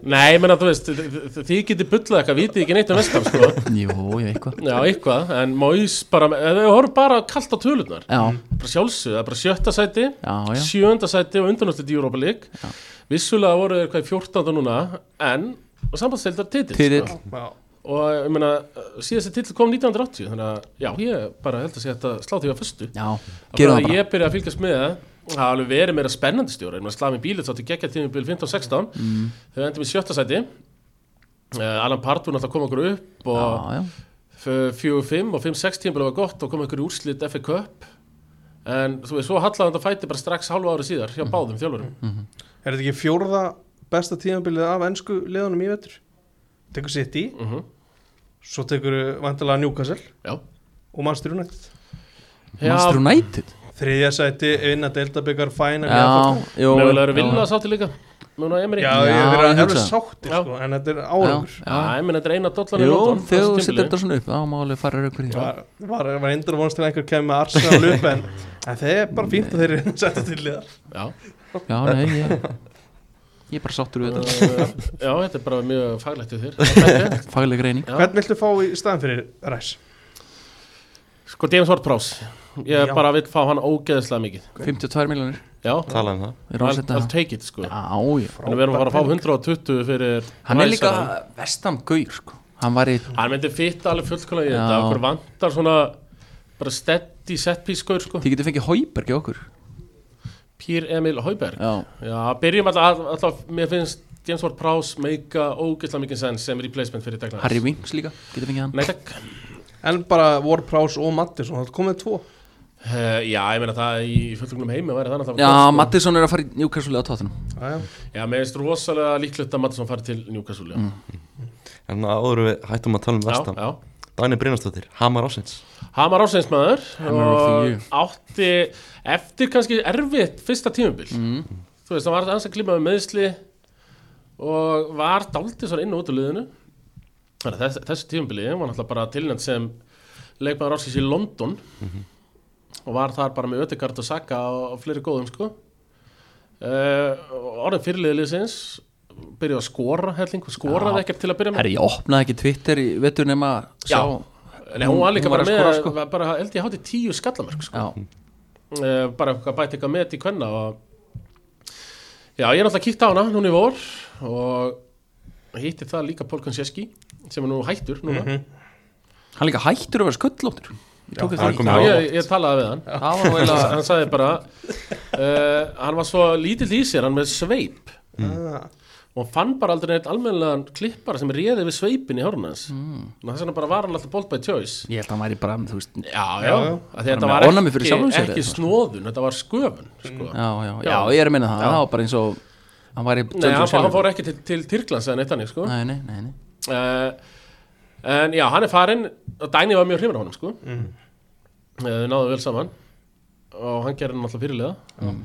nei, ég meina, þú veist, þ- þ- þ- þið getið bullað eitthvað, vitið ekki neitt um vestam, sko
Jú, ég veit hvað
já, eitthvað, en Mois bara, eða við horfum bara kallt á tölurnar
Já,
bara sjálfsögðu, það er bara sjötta sæti
já, já
sjöunda sæti og undanúrslit í Europa League
Já.
vissulega voru þeir hvað í 14. núna en sambandsdeildar titill,
Titill.
Sko.
Já,
og ég meina síðast titill kom 1980 þannig að já, ég bara held að sé þetta slá því að föstu
Já,
Og
gerum það
bara
bara
ég byrja að fylgjast með það það hafa alveg verið meira spennandi stjóra ég meina Slamin Bílit þáttu geggja tími bíl 15-16
Mm.
þau endum í sjötta sæti uh, Alan Pardur náttúrulega kom okkur upp og
Já, já,
F- 4-5 og 5-6 tíma var gott og kom einhverju úrslit FA Cup en þú veist, svo hallaði þetta fæti bara strax hálfa ári síðar
Mm.
hjá báðum þjálfurum
er þetta ekki fjórða besta tíðanbilið af ennsku liðunum í vetur? Tekur City,
mm
svo tekur vantilega Newcastle
Já,
og Manchester United
Manchester
já
United
Þriðja sæti, vinna Deildabikar, Final
Já, jú
mögulega eru
já.
vilna sátti líka Núna Emery
Já,
Já,
ég
Já,
er
ég
verið
hugsa
alveg
það.
sáttir
Já.
sko, en þetta er
Já,
árangur
já.
ég menn þetta er eina dollan í
Jú,
London
þegar
á
þú
þessu
setur
tímabili.
þetta svona upp Þá má alveg fara raukur í það
var, var, var endur vonast til að einhver kemur með Arsenal upp en, en það er bara fínt að þeir eru setja til liðar
Já,
Já, nei, ég Ég er bara sáttur við þetta
uh, já, þetta er bara mjög faglegt við þér
Fagleg reyning
Já.
Hvern viltu fá í staðan fyrir Ræs?
Sko, James Ward-Prowse Ég
Já.
bara vil fá hann ógeðslega mikið
52 miljónir
Já,
Talaði um það
Við erum að
I'll,
setja
I'll
það
take it sko
Já, já
En við erum að fara að fá 120 fyrir
Hann er líka
Rice,
vestam gaur sko Hann var í
Hann myndi fitta alveg fullkona í
Já.
þetta Okkur vantar svona bara steady setpískur sko
Þið getur fengið Hauberg í okkur
Pír Emil Hauberg
Já,
Já, byrjum alltaf, alltaf Mér finnst James Ward Prowse meika ógeðslega mikið sens sem replacement fyrir Dagnar
Harry Winks líka, getur fengið hann
Nei takk
En bara Ward Prowse og Mattis Það komið tvo
Uh, já, ég meina það í fullkonum heimi væri það náttúrulega
Já,
gott, sko.
Mattisson er að fara í Newcastle á tóttunum
Æja.
Já, mér finnst rosalega líklegt að Mattisson fari til Newcastle mm.
En áður en við hættum að tala um
Já,
vestan
já
Dagni Brynastóttir, Hamar Ásins
Hamar ásveinsmaður
Hammer of the year.
og átti eftir kannski erfitt fyrsta tímubil
Mhm.
þú veist, hann var aðeins að klíma með meðsli og var daldið svona inn og út úr liðinu þannig að þess, þessu tímubili var náttúrulega bara tilnæmt sem leikmaður ásins í London
Mhm.
og var þar bara með Ödegard og Saka og, og fleiri góðum sko uh, orðin fyrirliðliðsins byrjuði að skora helling og skoraði
Já.
ekkert til að byrja með
Herri, ég opnaði ekki Twitter í vetur nema
Já.
sá,
Nei, hún var líka
Hún var
bara
að
með,
skora, sko.
var bara held ég hátti tíu skallamörk sko.
já,
uh, bara eitthvað bæti eitthvað með í kvenna og já, ég er náttúrulega kíkt á hana núna í vor og hitti það líka Pól Konseski sem er nú hættur núna
Hann líka hættur að vera skullóttur Ég tók
Já,
eftir
hann
því
kom-
Já,
Já.
ég, ég talaði við hann
Það var vel
hann sagði bara uh, hann var svo lítill í sér, hann með sveip
Mm.
Ah.
og hann fann bara aldrei neitt almennilegan klippara sem réði við sveipin í hárun hans mm. þess vegna bara var hann alltaf bolt by choice
Ég held að hann væri bara, þú veist Já,
Já, já,
Já,
já.
já.
þetta
með
var
ofnæmi fyrir
ekki,
sjálfum sér
ekki
eða? Mm.
snóðun, þetta var sköfun sko.
já, já,
Já.
ég er að minna það Það var bara eins og Hann væri
Nei, hann, hann fór ekki til, til Tyrklands eða neitt þannig, sko
Nei, nei, nei, nei.
uh, En já, hann er farinn og Dæni var mjög hrifur á honum, sko mm. Náðu vel saman og hann gerir hann alltaf fyrirlega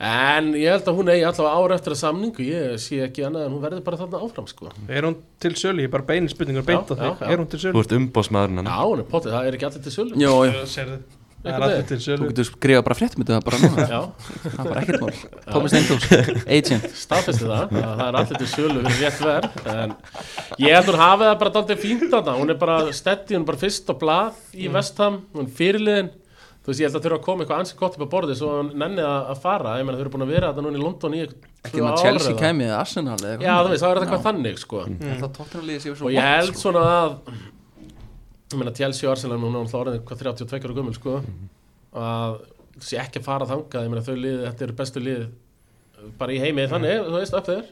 En ég held að hún eigi allavega ára eftir að samningu ég sé ekki annað en hún verður bara þarna áfram, sko
Er hún til sölu? Ég er bara beinir spurningar beint á
Já,
þig
já, já.
Er hún til
Þú
sölu?
ert umbásmaðurinn hann
Já, hún er potið, það er ekki allir til sölu
Jó, já,
Sérðu Það
Einhvern
er allir
veginn.
til
þú
sölu
getur skrifað bara fréttum þetta bara núna
Já,
Það var ekkert mál Thomas Steindós, agent
staðfesti það, að það er allir til sölu fyrir rétt verð, en ég held hún hafið það bara daldið fínt þarna, hún er bara stetti, hún er bara fyrst á blað í Vestham, hún er fyrirliðin, þú veist, ég held að þurfa að koma eitthvað ansi gott upp á borði svo hún nennið að að fara, ég meina þau eru búin að vera þetta núna í London í eitthvað
Ekki um að Chelsea kæmi eða Arsenal eða Mm.
Já, þú veist, það er þetta hvað þannig, sko,
Það tóttunarliði séu
og
svo
ég held svona að, ég meina Chelsea og Arsenal, hún er alltaf orðin hvað 32 ára gömul, sko,
Mhm.
að þú sé ekki að fara þangað, ég meina þau liðið, þetta eru bestu liðið, bara í
Mhm.
heimi, þannig, þú veist, upp þeir,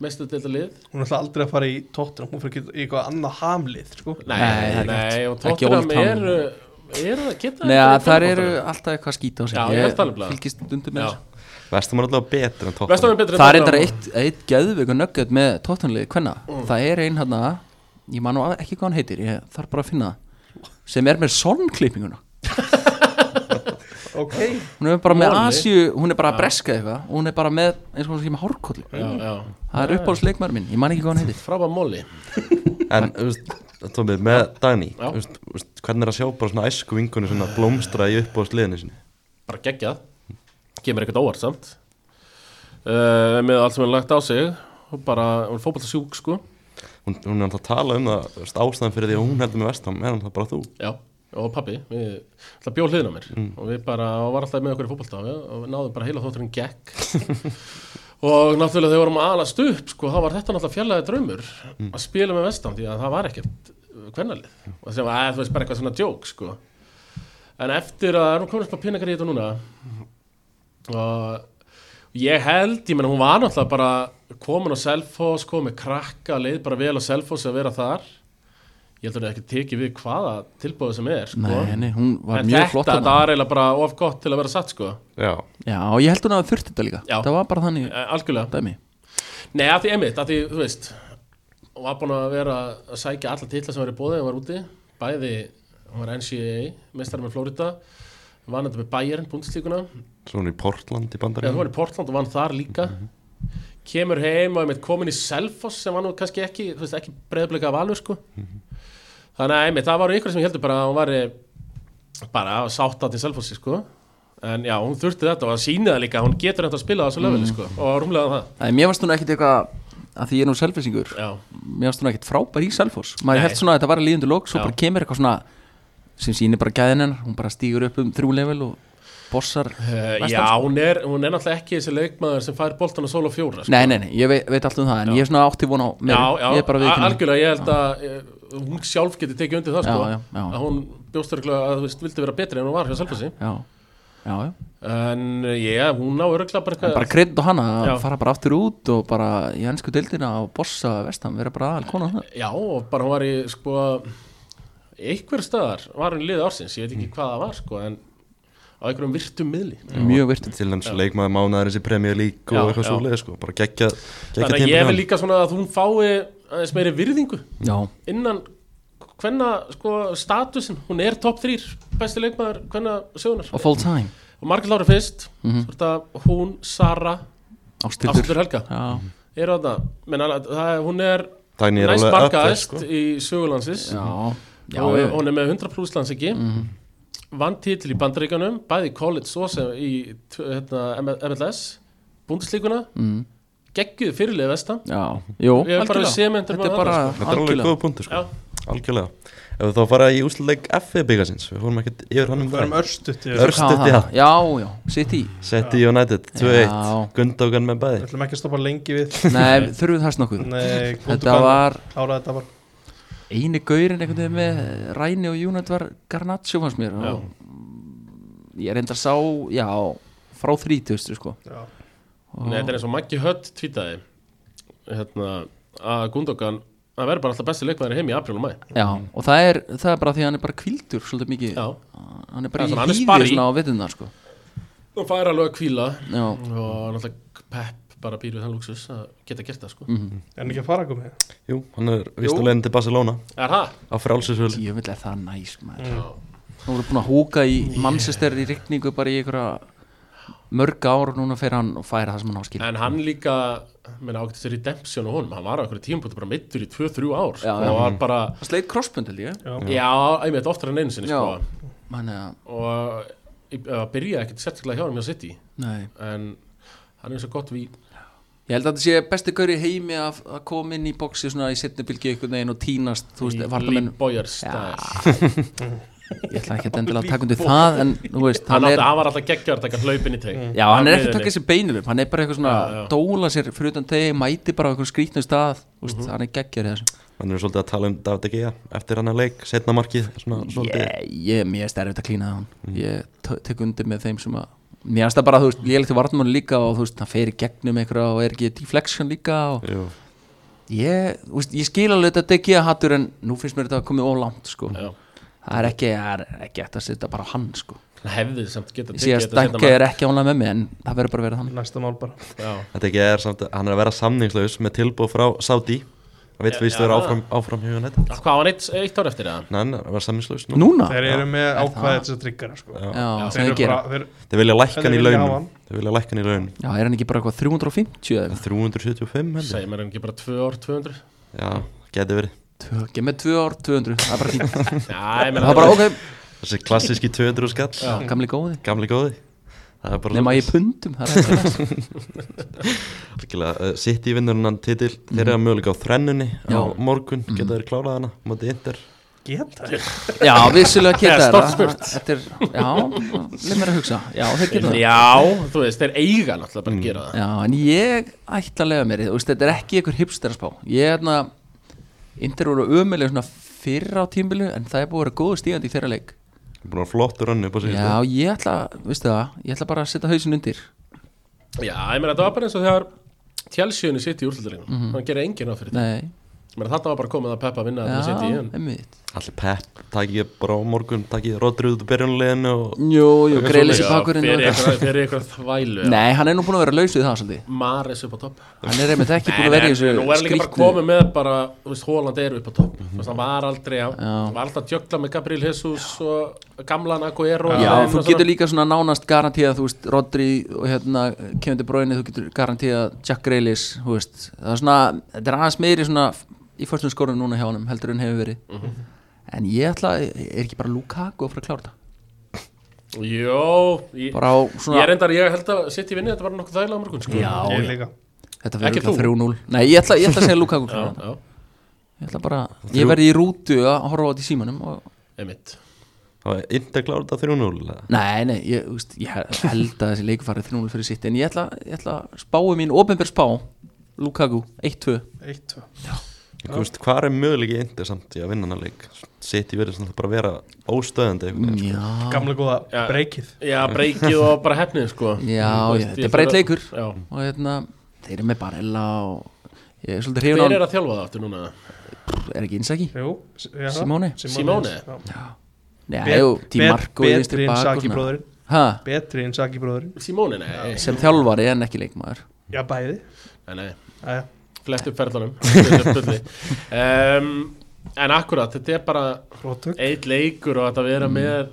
mestu lið
Hún er alltaf aldrei að fara í tóttina Hún fyrir ekki í eitthvað annað hamlið sko.
Nei,
Nei, það
nei,
er
og
rétt. Ekki
Tottenham
Old Town.
eru eru það, geta
Nei,
verið
það
fallbaráttu?
eru alltaf eitthvað skýta á sig
Já, ég held alveg.
fylgist undir með
Já,
þessu
Vestum er allavega betur en tótt
Vestam er betri en
Það er
Tottenham.
reyndar eitt, eitt geðveiku nöggjörð með tóttunliði hvenna
Mm.
Það er ein hann ég man nú að- ekki hvað hann heitir, ég þarf bara að finna það sem er með sonnklippinguna
Ok
hún er bara með
Móli.
Asju, hún er bara að breska eitthvað og hún er bara með, eins og hún sé með hárkollu
Já, já,
það er uppáhaldsleikmaður minn, ég man ekki hvað hann heitir
frábæð móli
En, þú veist, Tómi, með Dagný
Já.
þú veist, þú veist, Hvernig er að sjá bara svona æsku vingunni svona blómstra í uppbóðsliðinni sinni
Bara geggjað Kemur ekkert óvart samt uh, Með allt sem hann lagt á sig og bara, hún er fótbolta sjúk sko
Hún, hún er alltaf að tala um það, þú veist, ástæðan fyrir því að hún heldur með vestam er alltaf bara þú
Já, og pabbi, við alltaf bjóð hliðin á mér og við bara, og var alltaf með okkur í fótbolta og við- og við náðum bara heila þótturinn gekk og náttúrulega þegar við vorum að alast upp sko, þá var þetta náttúrulega fjarlæði draumur
Mm.
að spila með vestam því að það var ekkert uh, kvennalið og það sem var, að, þú veist, bara eitthvað svona djók sko. en eftir að erum komin upp á pinningar í þetta núna og ég held, ég menna hún var náttúrulega bara komin á Selfoss, sko, með krakka leið bara vel á Selfoss að vera þar ég held að hún hef ekki tekið við hvaða tilbúið sem er sko.
Nei, nei, hún var
en
mjög flott
þetta,
þarna.
þetta var eiginlega bara of gott til að vera satt sko.
Já,
Já, og ég held hún að þurfti þetta líka
Já.
Það var bara þannig
Eh, algjörlega
dæmi
Nei, að því emitt, að því, þú veist hún var búin að vera að sækja alla titla sem var í bóði og var úti bæði, hún var NCAA, mestari með Florida vann þetta með Bayern, búndslíkuna
svo hún er í Portland í
Já, hún
bandaríðan
var í Portland og vann þar líka Kemur heim og einmitt komin í Selfoss sem var nú kannski ekki, þú veist, ekki breyðbleika valur sko Þannig að einmitt, það var ykkur sem ég heldur bara að hún var bara sátt að til Selfossi sko En já, hún þurfti þetta og það sýnið það líka, hún getur þetta að spila á þessu leveli sko Og rúmlega það,
Æ, Mér varst hún ekkit eitthvað, að því ég er nú selfisingur
já,
Mér varst hún ekkit frábær í Selfoss Maður
Nei.
held svona að þetta var að líðundu lók Svo
Já.
bara kemur eitthvað svona sem sýnir bara gæðin hennar Hún bara stígur upp um þrjú level og bossar
Uh,
Vestan,
já, hún er, hún er náttúrulega ekki þessi leikmaður sem fær boltan að sóla fjóra sko.
Nei, nei, nei, ég veit, veit allt um það En ég er svona átti von á
Já,
meira.
já,
Ég er bara
a-
viðkynning
algjörlega, ég held að eh, hún sjálf geti tekið undir það
Já,
sko,
já, já.
að hún bjóst örgulega að þú veist, vildi vera betri en hún var hjá Selfossi
Já, já, já
en eh, já, hún ná örgulega bara
En
eitthvað
bara krydd og hana að
Eh. Já.
fara bara aftur út og bara í ennsku deildina og bossa vestan, vera bara aðal konan það
Já, og bara hún var í sko einhver staðar var hún í liði ársins, ég veit
Mm.
ekki hvað það var sko, en á einhverjum virtum miðli
mjög virtum
til dæmis leikmaður mánaðurins í Premier League og
Já,
eitthvað
já.
svoleið sko, bara geggja geggja
Þannig að ég vil
tímpil
líka svona að hún fái aðeins meiri virðingu
já,
innan hvenna sko, statusin, hún er top 3 besti leikmaður hvenna sögunar
og Mhm. full time
og Margrét Lára fyrst mm -hmm. hún, Sara,
ástildur
Ástildur Helga
já,
eru þarna, menn alveg, það, er- hún er
þannig er
næst
alveg up there,
markaðist
sko.
í sögulansis
já, já,
og
já, Mhm.
hún er með 100 pluss landsiki mm -hmm. vann titil í bandaríkanum bæði í college og sem í t- hérna, M- MLS búndislíkuna,
mm,
gegguð fyrirlið vestan
já, jú,
Ég er bara
algjörlega.
sementur
þetta
með
er bara
það,
þetta er alveg
algjörlega
góð punktu sko.
Já.
algjörlega ef við þá fara í úsleik FF byggasins við fórum ekkert yfir hann um
Það er um
það
örstutt
Ör-
Við
örstutt,
Hvað
já.
það? já, já, sitt í
City United 2-1
Já.
Gundogan með bæði
ætlum ekki að stoppa lengi við
nei, þurfum við þess nokkuð
Nei,
þetta var
Klára þetta var
eini gaurinn einhvern veginn með Ræni og Júnat var Garnaccio fannst mér
Já.
og ég reyndar sá, já, frá 30 sko
Já,
Og-
Nei, þetta er eins og Maggi Hött tvítaði hérna, að Gundogan að verður bara alltaf besti leikmaður í heim í apríl og mæ
Já, og það er, það er bara því að hann er bara kvildur svolítið mikið,
Já,
hann er
Það er
bara í
svona, hann er
hýði
sparri.
svona á vitundar sko.
og fær alveg að kvíla
Já,
og náttúrulega Pep bara býr við þann luxus að geta gert það sko
Mhm.
en ekki að fara að koma hér
jú, hann er vist að leiðin til Barcelona
Er það?
á frálsinsvöld
ég vil er það næs maður Nú erum búin að húka í Manchester í rigningu bara í einhverja mörg ár og núna fer hann og færa það sem hann áskil
En hann líka, menn ágætti sér redemption og honum, hann var á einhverju tímpúti bara meittur í 2-3 ár sko,
Já, já.
og var bara,
Það sleit crossbund held ég
já, einmitt oftar en einu sinni
Já.
sko,
Þannig að,
og ég- það byrjaði ekkert sérstaklega hjá hann hjá City,
nei
en hann er eins og gott við
Ég held að þetta sé besti gaur í heimi að, að koma inn í boxi svona í setni bylgi einhvern veginn og tínast, þú veist, vartamenn
Boyer stæl
Ég ætla ekki að endilega að taka undir það en þú veist,
hann,
hann
átti-
er Mm.
hann var alltaf geggjör að taka hlaupin í teik
Já, hann er ekki að
miðjunni.
taka þessi beinilum, hann er bara eitthvað svona
Já, já.
dóla sér fyrir utan tegi, mæti bara á einhvern skrítnum stað, þú
Mhm.
veist, hann er geggjör í þessu
hann er svolítið að tala um David De Gea eftir hann að leik, setna markið svona, svolítið
Ég, ég, mér er stærfitt að klína það hann
Mhm.
Ég t- tek undir með þeim sem að Mér er það bara, þú veist, ég er til vartmann líka og þú veist, hann fer í gegnum einhverja og er ekki deflection líka og
Jú.
ég, þú veist, ég skil alveg þetta degi að hattur en nú finnst mér þetta komið ólangt, sko
Já.
Það er ekki, það er ekki hægt að setja bara á hann, sko
Hann hefði samt getað
Ég sé að Stanka er ekki ánlega með mig en það verður bara að vera þannig
Næsta mál bara
er
Þetta ekki er samt að hann er að vera samningslaus með tilbúð frá Saudi hann veit
Já,
fyrst
já.
að vera áfram, áfram hjá United
Hvað var hann eitt, eitt ár eftir það?
Nei, hann er að vera samningslaus nú.
Núna?
Þeir eru með
Ah, Er
ákvæðið
það?
þess að tryggara sko.
Já.
Já,
Þeir
það
eru
er gera
bara þeir,
Þeir vilja lækka
En
hann í
þeir vilja hafa
launum
hann.
Þeir vilja lækka hann í launum
Já, er hann ekki bara eitthvað 350 eða eitthvað?
375 held ég
Segir mér hann ekki bara 2 ár, 200?
Já, geti verið
Tvö- Ekki með 2 ár, 200, það er bara fínt
Já, ég meina
Það er bara ok,
Þessi klassíski 200 skall
Já, gamli góði
Gamli góði Það er bara
Nefn að ég pundum, það er ekki næst
Líkilega, uh, sitt í vinnurinn titil Þeir eru að möguleika á þrennunni á
Mhm. Já. Mhm.
morgun Geta þeir klárað hana Móti Inter
Geta
Já, vissulega
Já,
geta
stórt
þeir
spurt.
það Þetta er, já, leið mér að hugsa Já, þeir geta það Mm,
Já, þú veist, þeir eiga náttúrulega bara að gera það
Já, en ég ætla að lega mér í það, þú veist, Þetta er ekki einhver hipster að spá Ég er hérna Inter voru ömulega svona fyrra á tímbilu En það er búið að vera góðu stígandi í þeirra leik
Búin að flottu rönnu upp á sig
Já, ég ætla, veistu það Ég ætla bara að setja hausin undir
Já, ég meina, þetta var bara eins og þegar tjálsjöunni sitt í úrslutaregnum mm hann gerir enginn á fyrir þetta
Mhm. Nei,
Ég meina, þetta var bara komið að Peppa vinna þetta sitt í
já,
en
emmitt
Allir pepp Takk ég bara á morgun Takk ég Rodri út úr byrjunleginu og...
Jú, jú, greilis í
Já,
bakurinn og
fyrir
eitthvað.
eitthvað- fyrir eitthvað þvælu
Nei, hann er nú búin að vera laus við það svolítið
Maris upp á topp
Hann er einmitt ekki búin að vera í þessu
Nú er hann líka bara
skrýtnu-
komið með bara, þú veist, Hóland er upp á topp
Mhm.
Þú veist, hann var aldrei, hann var alltaf að djökla með Gabriel Jesus og gamlan Aguero og
Já,
þeim
þú
og
getur
svona.
líka svona nánast garantíða, þú veist, Rodri og hérna Kevin De Bruyne, þú getur garantíða Jack Grealish, þú veist, það er svona, þetta er aðeins meiri svona í fyrstum skorum núna hjá honum, heldur en hefur verið.
Mhm.
En ég ætla, er ekki bara Lukaku að fara að klára þetta?
Jó, ég,
Bara á
ég
svona,
reyndar, ég held að sitt í vinni, þetta var nokkuð þægilega á morgun sko.
Já,
Ég líka
þetta fyrir
Ekki
ekki
þú?
3-0. Nei, ég ætla, ég ætla að segja Lukaku að
já,
klára þetta.
já,
Ég ætla bara, ég verði í rútu að horfa á þetta í símanum og
einmitt
Það var inte klára þetta 3-0 eða?
Nei, nei, ég, þú veist, ég held að þessi leikurfarið 3-0 fyrir sitt En ég ætla, ég ætla að spáu mín, ofinbjörn spá Lukaku, 1-2
1, 2
Ég komst, hvað er mögulegi inte samt í að vinna hann leik? Sitt í verið svona bara að vera óstöðandi einhvern
Mm.
sko.
veginn,
Já,
Gamla góða
Já.
breykið
Já, breykið og bara hefnið sko
já,
Þú
já,
veist,
þetta
ég
er
þarf
breytt
að-
leikur
Já
Og hérna, þeir eru með barilla og Ég er svolítið
Hver
hrifun
er
á,
að þjálfa það aftur núna?
er ekki innsaki?
Jú, s- já, það.
Simone.
Simone.
já.
Nei,
Bet-
það er
bet-
Di Marco í vinstri
Betri en
bak og
Saki
svona.
bróðurinn
Ha,
Betri en Saki bróðurinn
Simone, nei
sem þjálfari en ekki leikmaður
Já, bæði
Nei, nei
Æja.
Flest upp ferðlunum um, En akkurat, þetta er bara
Róttök
eitt leikur og þetta
Mm.
vera með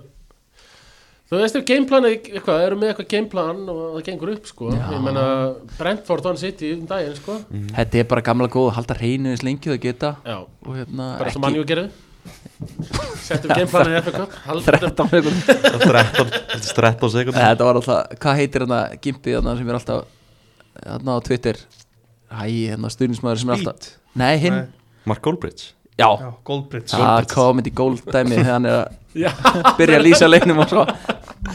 Þú veist ef gameplanið eitthvað, eru með eitthvað gameplan og það gengur upp sko
Já. Mm.
Ég meina Brentford hann sitt í um daginn sko
Þetta er bara gamla góð að halda hreinu eins lengi og það geta
Já,
og hérna
bara svo
ekki
mannjú gerði Settum gameplanið í FK Haldum
13 sekúndur.
13 þetta er 13 sekundar
Þetta var alltaf, hvað heitir hérna gimpið hérna sem er alltaf hérna á Twitter Æ, hérna stuðnismæður sem er alltaf
Beat
Nei, hinn,
Mark Goldbridge
já,
Já, Goldbridge
það er komið í góld Ah, dæmi þegar hann er
Já.
að byrja að lýsa leiknum og svo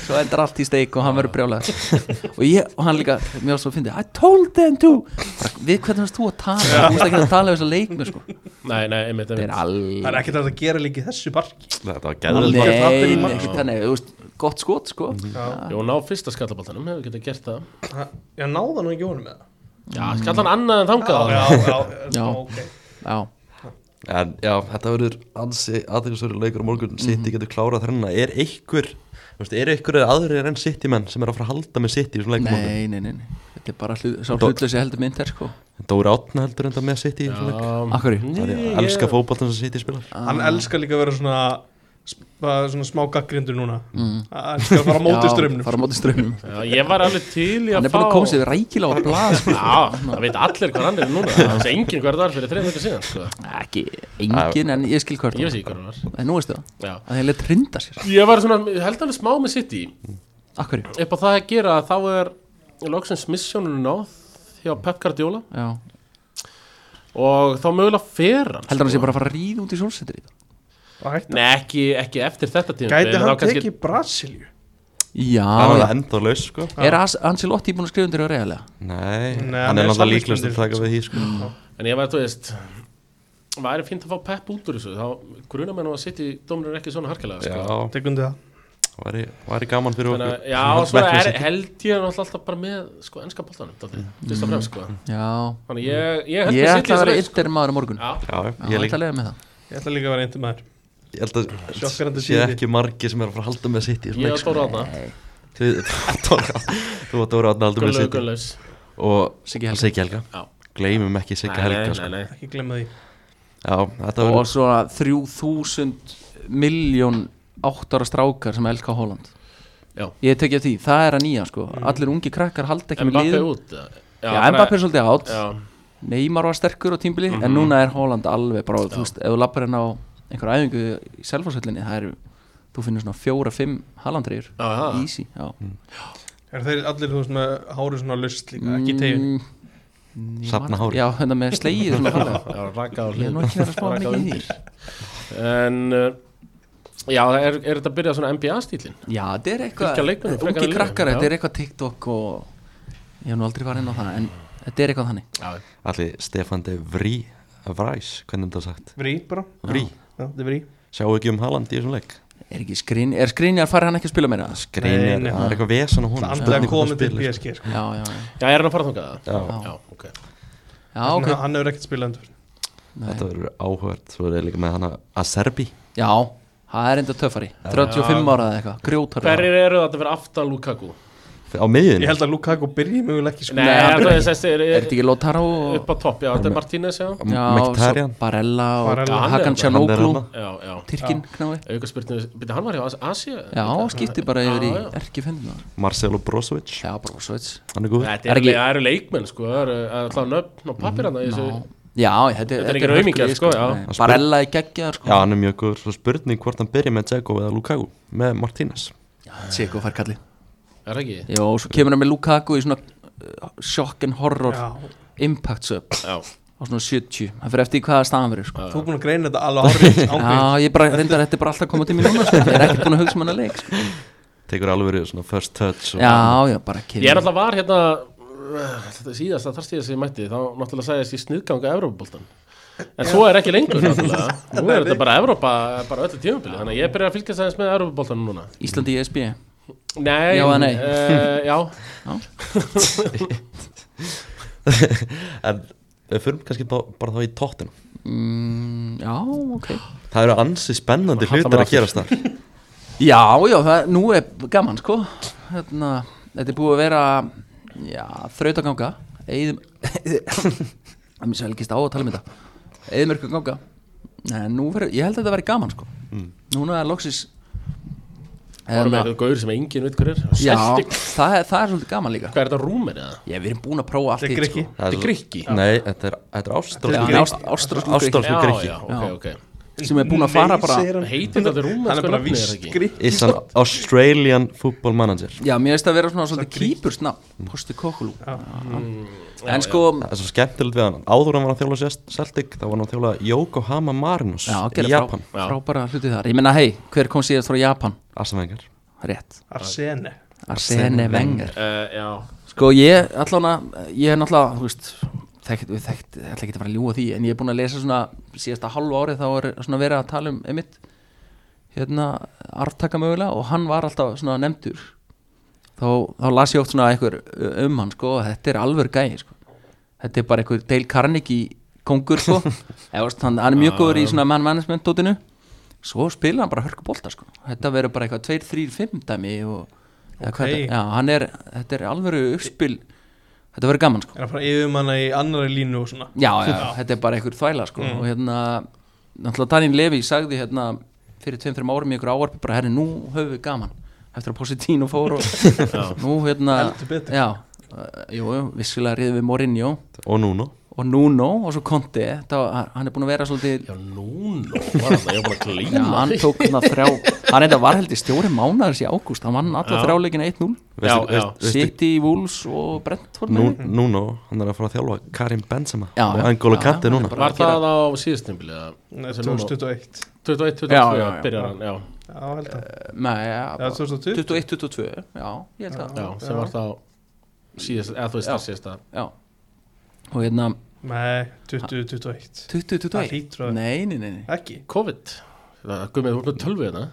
svo endur allt í steik og hann verður brjálega og ég, og hann líka, mér var svo að fyndi I told them to Bara, Við hvernig varst þú að tala, þú veist ekki að tala um þessa leiknum sko.
Nei, nei, einmitt,
Það
einmitt
er
Það er
alveg
ekkert hægt að gera líka í þessu barki
Þetta var
Nei,
gæðilega
Alveg-
sko.
nei, ekki þannig, þú veist, gott skot sko
Já,
Jón á fyrsta skallabaltanum, hefur getað gert það
það- já náða nú ekki honum með það
Já, skallan annað en þangað
Já, já, já
Mm. Já.
ok.
Já,
En já, þetta verður ansi aðeinsverður leikur á morgun City getur klárað þrenna Er einhver, þú veist, er einhver aðrir enn City menn sem er að fara að halda með City í svona leikum morgun?
nei, nei, nei, nei. Þetta er bara hlut, sá
Dó-
hlutlösi heldur mynd er sko
Dóri Átna heldur enda með City í svona leikum
Já,
Akkur
Það er að elska fótballtum sem City spilar
Ah.
Hann elskar líka að vera svona sp- bara svona smá gaggrindur núna Hann elskar að fara á móti strömmnum
Mm. fara á móti strömmnum
já, ég var alveg til í
hann
sko. að
er
fá
búin að koma sér rækilega á blað sko.
Já, það veit allir hvað hann er núna Það veist enginn hvað það er fyrir þreim veitur síðan sko.
ekki engin en ég skil hvort
Ég veist ekki hvað hann var
en nú veistu það
Já.
að það er leitt rinda sér
Ég var svona, ég held alveg smá með City
akkur já
Upp á það að gera að þá er Lóksins missjónunum náð Hjá Pep Guardiola
heldur
Og þá mögulega fer hann sko.
hann sé bara að fara að ríða út í solsettir í það
Nei, ekki, ekki eftir þetta tíma
Gæti hann tekið Brasilju?
Hann er
já
enda laus, sko
er As- Ancelotti búin að skrifa undir á reyðarlega
Nei,
Nei, hann
hann
er
er náttúrulega
samningsbundinn,
líklegast að taka við því, sko
En ég var, þú veist Væri fínt að fá Pep út úr þessu Þá gruna mér nú að City dómurinn ekki svona harkilega sko.
Já,
Tekundu það
væri, væri gaman fyrir
Þannig,
okkur
að- já, svona er, held ég náttúrulega alltaf bara með sko, ennska boltanum, dálítið, fyrst og fremst sko.
já
Þannig ég, ég held
Mm. ég
með City
ætla að
þessa
vera
leik,
yndir maður á morgun já
Já,
Já,
ég
ég
ætla
líka
að lega með það
Ég ætla líka að vera eindir maður
Ég held að
Sjokkerandi
sé
tíðindi.
ekki margi sem er að fara að halda með sitt í
ég
svona
er
leik sko.
stóra aðna,
Þið- Dóra- Þú og Dóra Átna halda með
gullu,
sitt
gullus.
Og
Siggi Helga.
Siggi Helga
Já.
Gleimum ekki Siggi Helga sko.
nei, nei.
Ekki glemma því
Já, þetta
og
var
svona 3000 miljón áttara strákar sem elka Holland
Já.
ég tekja því það er að nýja sko allir ungi krakkar halda ekki með
Mbappe
liðum
út. Já,
já Mbappé er svolítið átt
Já,
Neymar var sterkur á tímbili en núna er Holland alveg bara, þú veist, ef þú lappar henn á einhverja æfingu í selfhásvöllinni það er, þú finnir svona fjóra, fimm Hallandriður,
Já, já.
easy já.
Mm.
Er þeir allir þú veist með hárið svona löst líka Ekki í tegin
Mm, Neymar-
Safna hári.
Já, þetta með slegið svona fallega
já, raka á
Ég er nú
hlið.
ekki verið að spá
Raka
mikið í því
undir. En, uh, já, er, er þetta að byrja svona NBA-stílinn?
Já, þetta er
Fylgja leikmönnum, frekar
eitthvað, ungi
en liðum,
krakkar
já.
þetta er eitthvað TikTok og ég hef nú aldrei farið inn á það en þetta er eitthvað þannig
Já,
allir Stefan de Vrí Vræs, hvernig er þetta sagt?
Vrí bara
Vrí,
Já, þetta er vrí
sjáu ekki um Haaland í þessum leik
Er ekki skrín, er skrínjar farið hann ekki að spila meira?
Greinir,
Nei, nei.
það er eitthvað vesan á hún
Það andlega komið til PSG sko.
Já, já, já,
já er hann að fara þangað?
Já,
Já, já ok.
já,
Hann
Ah, ok
hann hefur ekkert spilað endur
Nei.
þetta verður áhört Svo er ég líka með hana Aserbi
Já, það er enda töffari 35 ára eða eitthvað, grjótar
Hverjir eru þetta að vera aftan Lukaku?
á miðjunni
Ég held að Lukaku byrji mögulega ekki sko.
Nei,
hann
það
byrjar-
er þessi, er,
Er þetta ekki Lotaro og
upp á topp, já, þetta er Martínez, já.
M- Mkhitaryan.
svo Barella og
Barella,
Barella,
hann er
Hakan
þetta.
Hann er
Tjanoglu
þarna.
Já, já.
Tyrkin knái
Auka spurningu, byrja, hann var hjá Asi?
Já, skipti bara
Já,
yfir í
já.
erki fendina
Marcelo Brozovic,
Já, bara sveits
hann er góð
Þetta
Er
er,
ekki-
le- það eru leikmenn sko, það eru alltaf nöfn og pappir hann Já,
Já, þetta,
er engin aumingjar,
hörkulið,
sko, já.
Nei, Barella í
Já,
geggjaðar sko
hann er mjög góður Svo spurning hvort hann byrja með Dzeko eða Lukaku Með Martínez
Siko fær kalli
er ekki?
Jó, svo kemur hann með Lukaku í svona uh, shock and horror
Já,
impact sub
Já,
og og svona 70 það fyrir eftir í hvaða staðan verið sko.
Þú er búin að greina þetta alveg árið ángríns
Já, ég bara reyndar þetta er bara alltaf að koma til mín núna sko. ég er ekkert búin að hugsa um hana leik sko.
tekur alveg svona first touch og-
Já, já,
Ég
bara
er
kemur
alltaf var hérna uh, Þetta er síðast, það þar síðast sem ég mætti Þá náttúrulega sagðist ég sniðganga Evrópaboltan En svo er ekki lengur náttúrulega Nú er þetta bara Evrópa, bara öllu tímabili Þannig að ég byrja að fylgja sæðins með Evrópaboltan núna
Íslandi í E SB
Nei,
Já eða nei?
eh, já,
en við förum kannski bá, bara þá í tóttina
mm, Já, ok
það eru ansi spennandi
Hallar
hlutir
maður
að gerast þar
Já, já, það, nú er gaman sko Þarna, Þetta er búið að vera já, þrautaganga Eðum Það mér sæl ekki stá að tala um þetta Eðumörku ganga Nei, nú verður, ég held að þetta verði gaman sko Núna er loksis
það með
Hérna,
eitthvað gaur sem enginn veit hver er
Já,
Celtic,
það, er- það er svolítið gaman líka
hvað er þetta rúmir eða?
Já, við erum búin að prófa allt
Þetta er
í
Grikki.
sko.
Það
Þetta
svo-
er Grikki?
nei, þetta er, þetta er ástralsku
Já, ást- ástralsku Grikki.
ástralsku
Já,
grikki
já, ok, ok
sem er búin að fara bara
segir hann.
Heitir þetta
Hann
þetta
er
rúmensku
bara
nafni er
víst
ekki?
grikki
is an Australian football manager
Já, mér finnst það að vera svona svolítið kýpursna
Mm.
Posti Kokulu En sko,
það er svo skemmtilegt við hann áður en hann var að þjóla Celt- Celtic þá var hann að þjóla Yokohama Marinos
já,
í
gera frá,
Japan
Já.
frábæra hluti þar Ég menna, hei, hver kom síðast frá Japan?
Asavengar
Rétt,
Arsene
Arsene Wenger
Eh, Já,
Sko, ég, allan ég er náttúrulega, þú veist Þekkt, við þekkt, ég ætla ekki að fara að ljúga því En ég er búin að lesa svona, síðasta halvu árið Þá er svona verið að tala um einmitt Hérna, arftaka mögulega Og hann var alltaf svona nefndur Þá, þá las ég oft svona einhver um hann, sko að Þetta er alvör gæði, sko Þetta er bara einhver Dale Carnegie kongur, sko Eða, þú veist, hann, hann er mjög góður í svona man management dótinu Svo spila hann bara hörku bolta, sko Þetta verður bara eitthvað 2, 3, 5 dæmi og, eða hvað
Ok.
þetta- Já, hann er, þetta er alvöru uppspil Þetta verður gaman sko
Er að fara yfir manna í annari línu og svona
já, já, þetta er bara einhver þvæla sko Og hérna, náttúrulega Danín Levi sagði hérna Fyrir tveim, þreim árum í einhver ávarpi Bara herri, nú höfum við gaman Eftir að Positino fór og Nú hérna
Heldur betur.
já, uh, Jú, jú, vissulega riðum við Mourinho
og Nuno
Og Nuno og svo Conte Þetta, var- hann er búin að vera svolítið
já, núna var alltaf, ég var bara að
Já,
glýma
hann tók hérna þrjá Hann eitthvað var heldur stjóri mánaðars í ágúst Hann vann alla
Já.
þrjáleikin 1-0
Já,
Veistu-
já.
veistu- veistu-
City, Wolves og Brentford
Nú-
meina ég.
Nuno, hann er að fara að þjálfa Karim Benzema
Já,
og
já.
Angolo
Já,
Kante
hann er
núna
bara-
Var það á síðustimbili?
Nei, 2021
21, 22,
Já, já, já.
byrjar hann, já
Já, held að
Eh, Nei, ja,
Já, 2020?
21-22 Já, ég held það
Já, sem var það á síðasta, eða þú veist það síðasta
Já Og hérna
Nei, 2021 Það
20-21
hlýtur að-
Nei, nei, nei, nei
Ekki
COVID Það gummið, þú ert með tölvu hérna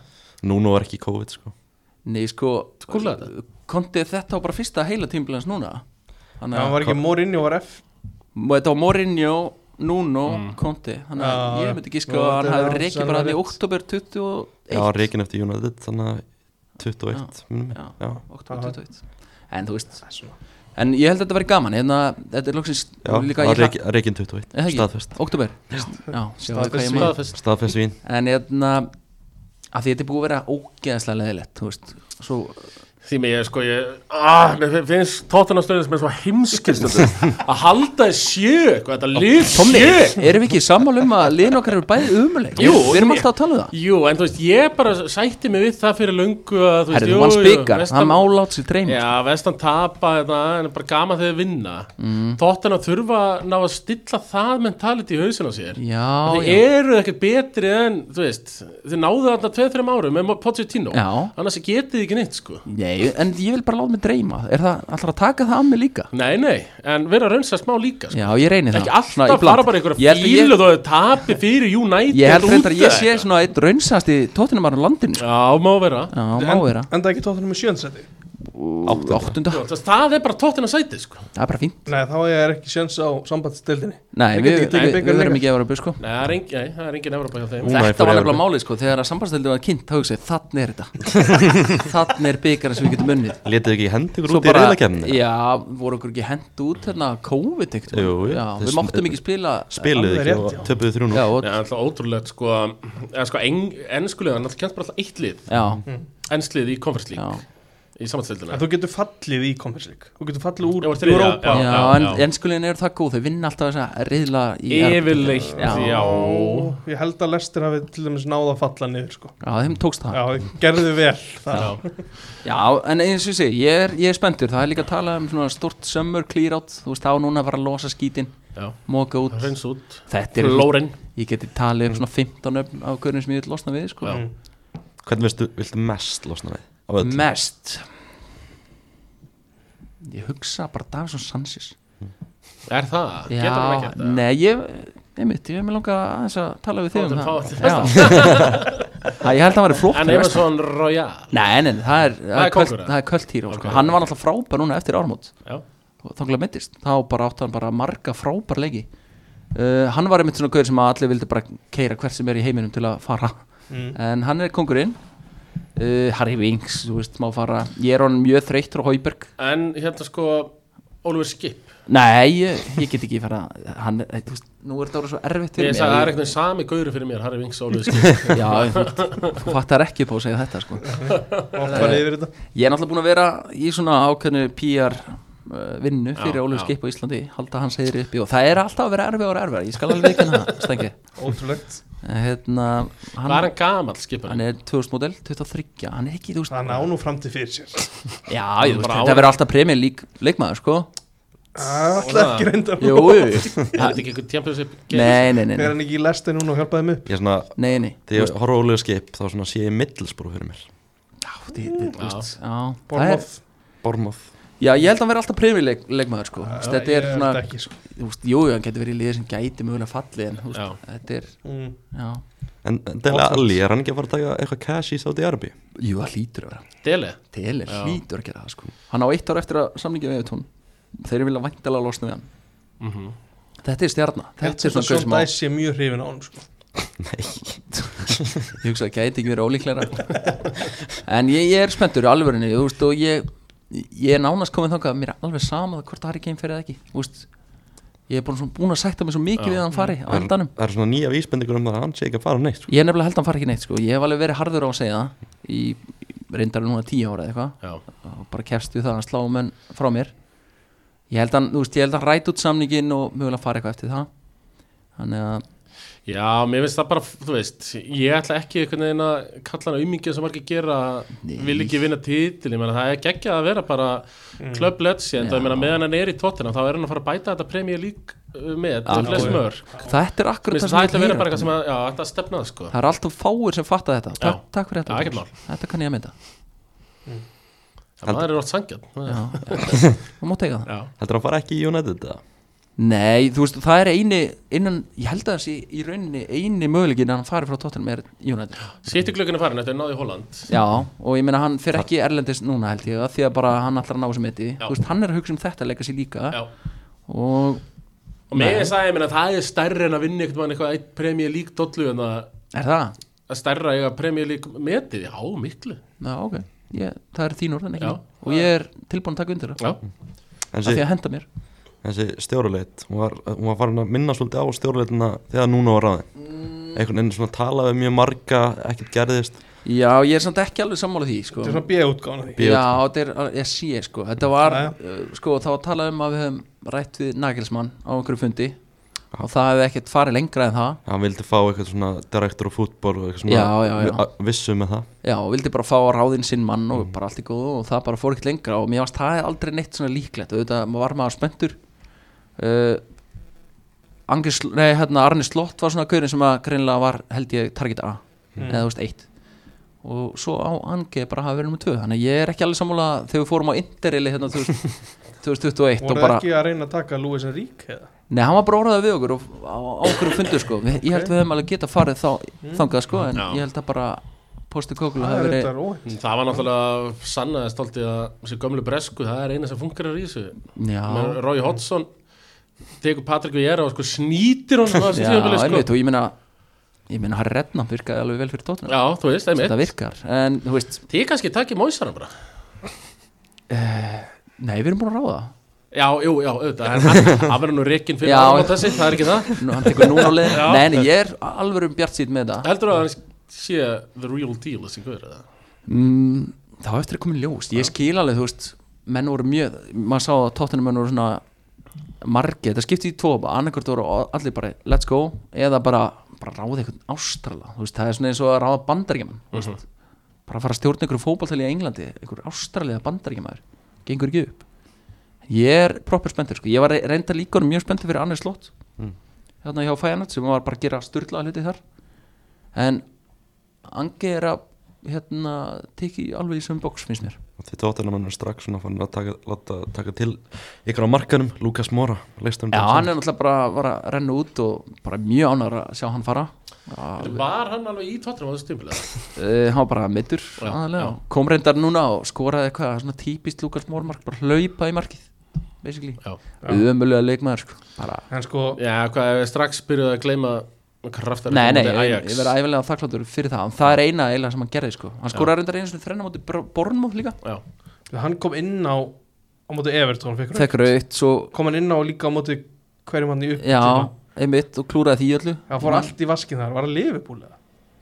Nuno er ekki COVID sko
Nei, sko
Skúla þetta?
Kontið þetta á bara fyrsta heila tímbilans núna
Já,
Þannig
hann var
að
ekki Mourinho var F
Þetta var Mourinho, Nuno, Konti Þannig að
Mm. Já,
ég myndi
já,
gíska að hann
þetta er
hafi
já,
reikið
sennilega
bara hann í
rétt.
oktober 21
já, reikin eftir United þannig að 21 minnum
Já,
mig. já,
oktober 21 En þú veist En ég held að þetta væri gaman Hérna, þetta er loksins
já,
líka
já
ég hla-
reikin 21
Eða ekki?
staðfest
Oktober Já, sjáðu hvað ég
Staðfest.
man
Staðfest
staðfest vín
En hérna að því þetta er búið að vera ógeðslega leðilegt Þú veist Svo,
Því með ég sko ég ah, Mér fin- finnst tóttunastöðin sem er svo heimskistöndum Að halda þið sjö Hvað þetta lið sjö
Erum við ekki sammála um að liðin okkar eru bæði umuleg
Jú,
Við erum
ég-
alltaf að tala um það
Jú, en þú veist, ég bara sætti mig við það fyrir löngu að þú veist,
Herri,
jú,
þú mann
jú,
spikar,
Vestam-
það málátt sér treymi
Já, vestan tapa þetta en bara gama þegar þið vinna mm. Tóttan að þurfa að ná að stilla það mentality í hausin á sér
Já,
Þið
já,
eru ekkert betri en, þú veist, þið náðu þarna 2-3 árum með Pochettino
Já.
Annars getið þið ekki neitt, sko
nei, en ég vil bara láta mig dreyma Er það, ætlar að taka það af mig líka?
Nei, nei, en vera að raunsa smá líka, sko
Já, ég reyni það
Ekki
Svona í
alltaf
bland.
fara bara í einhverja
Ég held að ég-
fílu þó að þið tapi fyrir United
Ég held reyndar að ég
eða
sé
eitthvað.
svona eitt raunsast í tóttinumarinn landinu sko.
Já, má vera
Já, má vera
En það ekki tóttunum með sjönsæti
Áttunda,
Þú veist, Það er bara tóttina sætið, sko
það er bara fínt
Nei, þá er ekki sjöns á sambandstildinni
Nei,
Þeir
við,
geta ekki tekið
við,
bikarinn
við verum
líka.
ekki að vera að buð sko
Nei, það er engin, nei, það er engin Evropa hjá þeim
Hún- Núna er
Þetta
fyrir
var nefnilega
Evrópu.
málið sko, þegar að sambandsdeildin var kynnt þá hugsaði, þannig er þetta þannig er byggarinn sem við getum unnið
letið ekki hendi ykkur
Svo
út í reyðakefni
já, voru okkur ekki hend út hérna COVID ekkert
Jú, jú,
já,
þeir
við
sm-
máttum ekki spila
spiluð
Alveg
ekki
rétt,
og
já.
töpuðu þrjúnum
já, og,
Já,
já.
það er alltaf ótrúlegt, sko Eða sko, ennskulega, hann alltaf kjent bara alltaf eitt lið
Já,
Ennslið í Conference League, í
En
samanstildina
þú getur fallið í Conference League Þú getur fallið úr
Já, var þriðja,
Europa
Já,
en,
já.
en skulegin eru það góð þau vinna alltaf þess að riðla í Evrópu.
Yfirleitt,
Já.
já
Ó, Ég held að lestin hafi til dæmis náða að falla niður sko.
Já, þeim tókst það
Já, gerðu vel það.
Já,
Já, en eins og ég segi, ég er, ég er spenntur Það er líka að tala um svona stort summer clear out Þú veist, þá núna var að losa skítin
Já.
móka út
hreins út
þetta er,
Lórin
ég geti talið um svona 15 öfn af hverjum sem ég vil losna við sko.
Já.
Hvernig viltu, viltu mest losna við? Af öllum?
mest ég hugsa bara Davison Sanchez
Er það? Getur hann ekki þetta?
nei, ég einmitt, ég hef mér langað aðeins að tala við þig um
Fá
það
þetta- fá
Já. það ég held að það væri flott
En
fyrir West Ham.
Emerson Royal
nei, nei, það er, það er,
kóngur,
kvöld-
eða?
það er kvöld hýra
Ok.
sko. hann var náttúrulega frábær núna eftir ármót
Já,
og þanglega mittist, þá bara átti hann bara marga frábær leiki uh, hann var einmitt svona gaur sem að allir vildi bara keira hvert sem er í heiminum til að fara
Mm.
en hann er kongurinn uh, Harry Winks, þú veist, má fara ég er honum mjög þreyttur á Hauberg
en hérna sko Oliver Skip
nei, ég, ég get ekki fara hann, er- þú veist, nú er þetta orðið svo erfitt
Ég
fyrir
sagði að það er
mér
eitthvað sami gauri fyrir mér Harry Winks og Oliver Skip
já, þú veist, þú fattar ekki upp á að segja þetta sko.
Oft farið yfir þetta
ég er náttúrulega búin að vera í svona ákveðnu PR uh, vinnu fyrir
Já,
Ólið
já.
Skip á Íslandi halda hans heiðri uppi og það er alltaf að vera erfið og erfið ég skal alveg ekki hana, stengi
Ótrúlegt
hérna,
Var
hann,
hann gamall skipar?
hann er 2000 model 23, hann er ekki þú veist,
Það ná nú framtíð fyrir sér
já,
er
ég, þú veist,
bara
þetta
á-
verður alltaf premjör lík, leikmaður sko
Alltaf ekki reynda
jú, jú.
Er þetta ekki eitthvað championship game?
nei, nei, nei,
Er
nei,
hann ekki í lesti núna og hjálpaði mig upp
Ég svona,
nei, nei.
þegar ég horfa ólega skip þá svona sé ég middelsbrú fyrir mér
Já, þið, þið, þú veist, já, það er,
Bormoth
Bormoth
já, ég held að hann verður alltaf premjör leik, leikmaður sko, Þú veist, þetta
Ég
er
held
svona
ekki, sko.
þú veist, jú, jú, hann getur verið í liðið sem gæti mögulega falli en þú
Já.
veist, þetta er,
Mm.
já
En Dele Alli, er hann ekki að fara að taka eitthvað cash í Saudi Arabi?
jú, það hlýtur að vera
Dele?
Telir
Já.
hlýtur að gera það sko Hann á eitt ár eftir að samlingi við Evertón Þeir vilja væntalega losna við hann
Mhm.
Þetta er stjarna Þetta er svona gaur sem
Sjón
á
Dæs sé mjög hrifin á hann sko.
Ég hugsa að gæti ekki verið ólíklegra En ég, ég er spenntur í alvörinu Þú veist og ég Ég er nánast komin þangað að mér er alveg sama það hvort Harry Kane fyrir eða ekki Þú veist Ég er búin, svona, búin að sætta mig svo mikið
Já.
við að hann fari á
Það er-
endanum
það eru svona nýja vísbendingur um það að hann sé ekki að fara neitt sko.
Ég er nefnilega held að hann fari ekki neitt sko Ég hef alveg verið harður á að segja það Í reyndar núna tíu ára eða eitthvað
Já,
og bara kefst við það að slá menn frá mér ég held að, þú veist, ég held að ræta út samningin og mögulega fara eitthvað eftir það þannig að,
Já, mér finnst það bara, þú veist Ég ætla ekki einhvern veginn að kalla hann umingið sem margir gera
Nei.
Vil ekki vinna titil, ég meina það er geggjað að vera bara Club Legend, og ég meina meðan hann er í tóttina þá er hann að fara að bæta þetta Premier League uh, með
Algjörlega.
flest mörg
þetta er
Mér
akkurat
finnst
það sem
það
ég
ætla að vera
heyra
bara eitthvað sem að, já, þetta stefnað sko
það er alltaf fáir sem fatta þetta
Já.
takk, takk fyrir
Já,
þetta
ekkert
Tómas. þetta kann ég að mynda
Það maður er ótt sangjarn
já,
Já,
já. þú mátt eiga það
já,
Heldur hann fara ekki í United eða?
nei, þú veist, það er eini innan, ég held að það sé í rauninni eini mögulegin að hann fari frá tóttunum er United
Sýttu klukkan er farin, þetta er náði í Holland
já, og ég meina hann fyrir ekki erlendist núna held ég, af því að bara hann allar að ná sem mitti
Já.
þú veist, hann er að hugsa um þetta leika sér líka
Já,
og
og með þess að ég meina það er stærri en að vinna einhvern veginn eitthvað eitt Premier League dollu en að
er það
að stærra eiga Premier League metið, já, miklu
Já, ok, ég, það er þín orð en ekki
Já.
mín. og ég er tilbúin að taka undir það
Já,
En
af því
þessi,
að henda mér
þessi stjóruleit hún var, hún var farin að minna svolítið á stjóruleitina þegar núna var ráðin
Mm.
einhvern veginn svona tala við mjög marga ekkert gerðist
Já, ég er samt ekki alveg sammála því sko.
Þetta er svona B-útgána því
Já, þetta er, ég sé sko Þetta var,
Já,
uh, sko, þá var talað um að við höfum rætt við Nagelsmann á einhverju fundi og það hefði ekkert farið lengra en það
hann vildi fá eitthvað svona direktor og fútból og eitthvað svona
Já, já, já.
vi- að- vissu með það
Já, og vildi bara fá að ráðin sinn mann og
Mm.
bara allt í góðu og það bara fór ekkert lengra og mér varst það aldrei neitt svona líklegt auðvitað maður var maður spenntur uh, Angis, nei, hérna, Arni Slott var svona gaurin sem að greinlega var held ég target A
Mm.
eða þú veist eitt og svo á Ange bara hafa verið nummer 2 þannig að ég er ekki alveg sammála þegar við fórum á Interili hérna 2000 2021 og
Voru
bara,
ekki að reyna að taka Lewis en Rík eða
nei hann var bara orðað við okkur og á, á okkur fundur sko, við, ég held við hefum alveg getað farið þá, þangað sko en
Já.
ég held að bara posti kókulu
Mm. Það
hafi
er
verið
þetta róið
það var náttúrulega sannaðist alltaf að þessi gömlu bresku, það er eina sem funkar í þessu
Já,
Með Roy Hodgson tekur Patrik Vieira og sko snýtir hann á þessu
Já,
tímabili, sko.
einmitt og ég meina ég meina Harry Redknapp virkaði alveg vel fyrir tóttunum
Já, þú veist,
þetta
einmitt
virkar, en þú veist
Þið kannski takki mósara bara
nei, við erum búin að ráða það.
Já, jú, já, auðvitað en hann- Hann verður nú reikin fyrir
Já.
áramót þessi, það er ekki það
Nú, hann tekur núna á leiðin,
Já.
nei, nei, ég er alveg um bjart sýt með það
Heldur að hann sé the real deal þessi guður eða?
mm, þá eftir að koma í ljós ég skil alveg, þú veist, menn voru mjög maður sá að tóttunum menn voru svona margir, þetta skipti í tópa annarkvort voru allir bara, let's go eða bara, bara ráði eitthvað ástrala þú veist, það er svona eins og að ráða bandaríkjaman
Mm -hmm.
bara að fara að stjórna einhverju fótballtæli í Englandi einhverju ástraliða bandaríkjamaður gengur ekki upp ég er proper spenntur sko. ég var re- reyndar líka orðinn mjög spenntur fyrir annars slott
Mm.
hérna hjá Feyenoord sem var bara að gera styrla hluti þar en Angi er að hérna, teki alveg í sömu box finnst mér
Því tóttunum er strax svona fann að taka, láta, taka til ykkur á markanum, Lukas Mora leikstærum
Já, hann er náttúrulega bara var að renna út og bara mjög ánægður að sjá hann fara að,
Var hann alveg í tóttunum á þessu tímpilega?
uh, hann var bara middur
Já,
aðalega
já.
og kom reyndar núna og skoraði eitthvað svona típist Lukas Mórmark, bara hlaupa í markið basically,
Já.
ömulega leikmaður sko. bara,
en sko,
Já, hvað ef við strax byrjuð að gleyma kraftar
nei, nei, ég, ég verði æfinlega þakkláttur fyrir það, en það er eina eiginlega sem hann gerði sko. hann skoraði reyndar einu svona þrenna móti Bornmóð líka,
Já,
hann kom inn á á móti Evertón, fekk rautt.
þekkar aukt svo,
kom hann inn á líka á móti hverjum hann í upp
já, einmitt og klúraði því öllu
það fór allt í vaskin þar, var að lifi búlega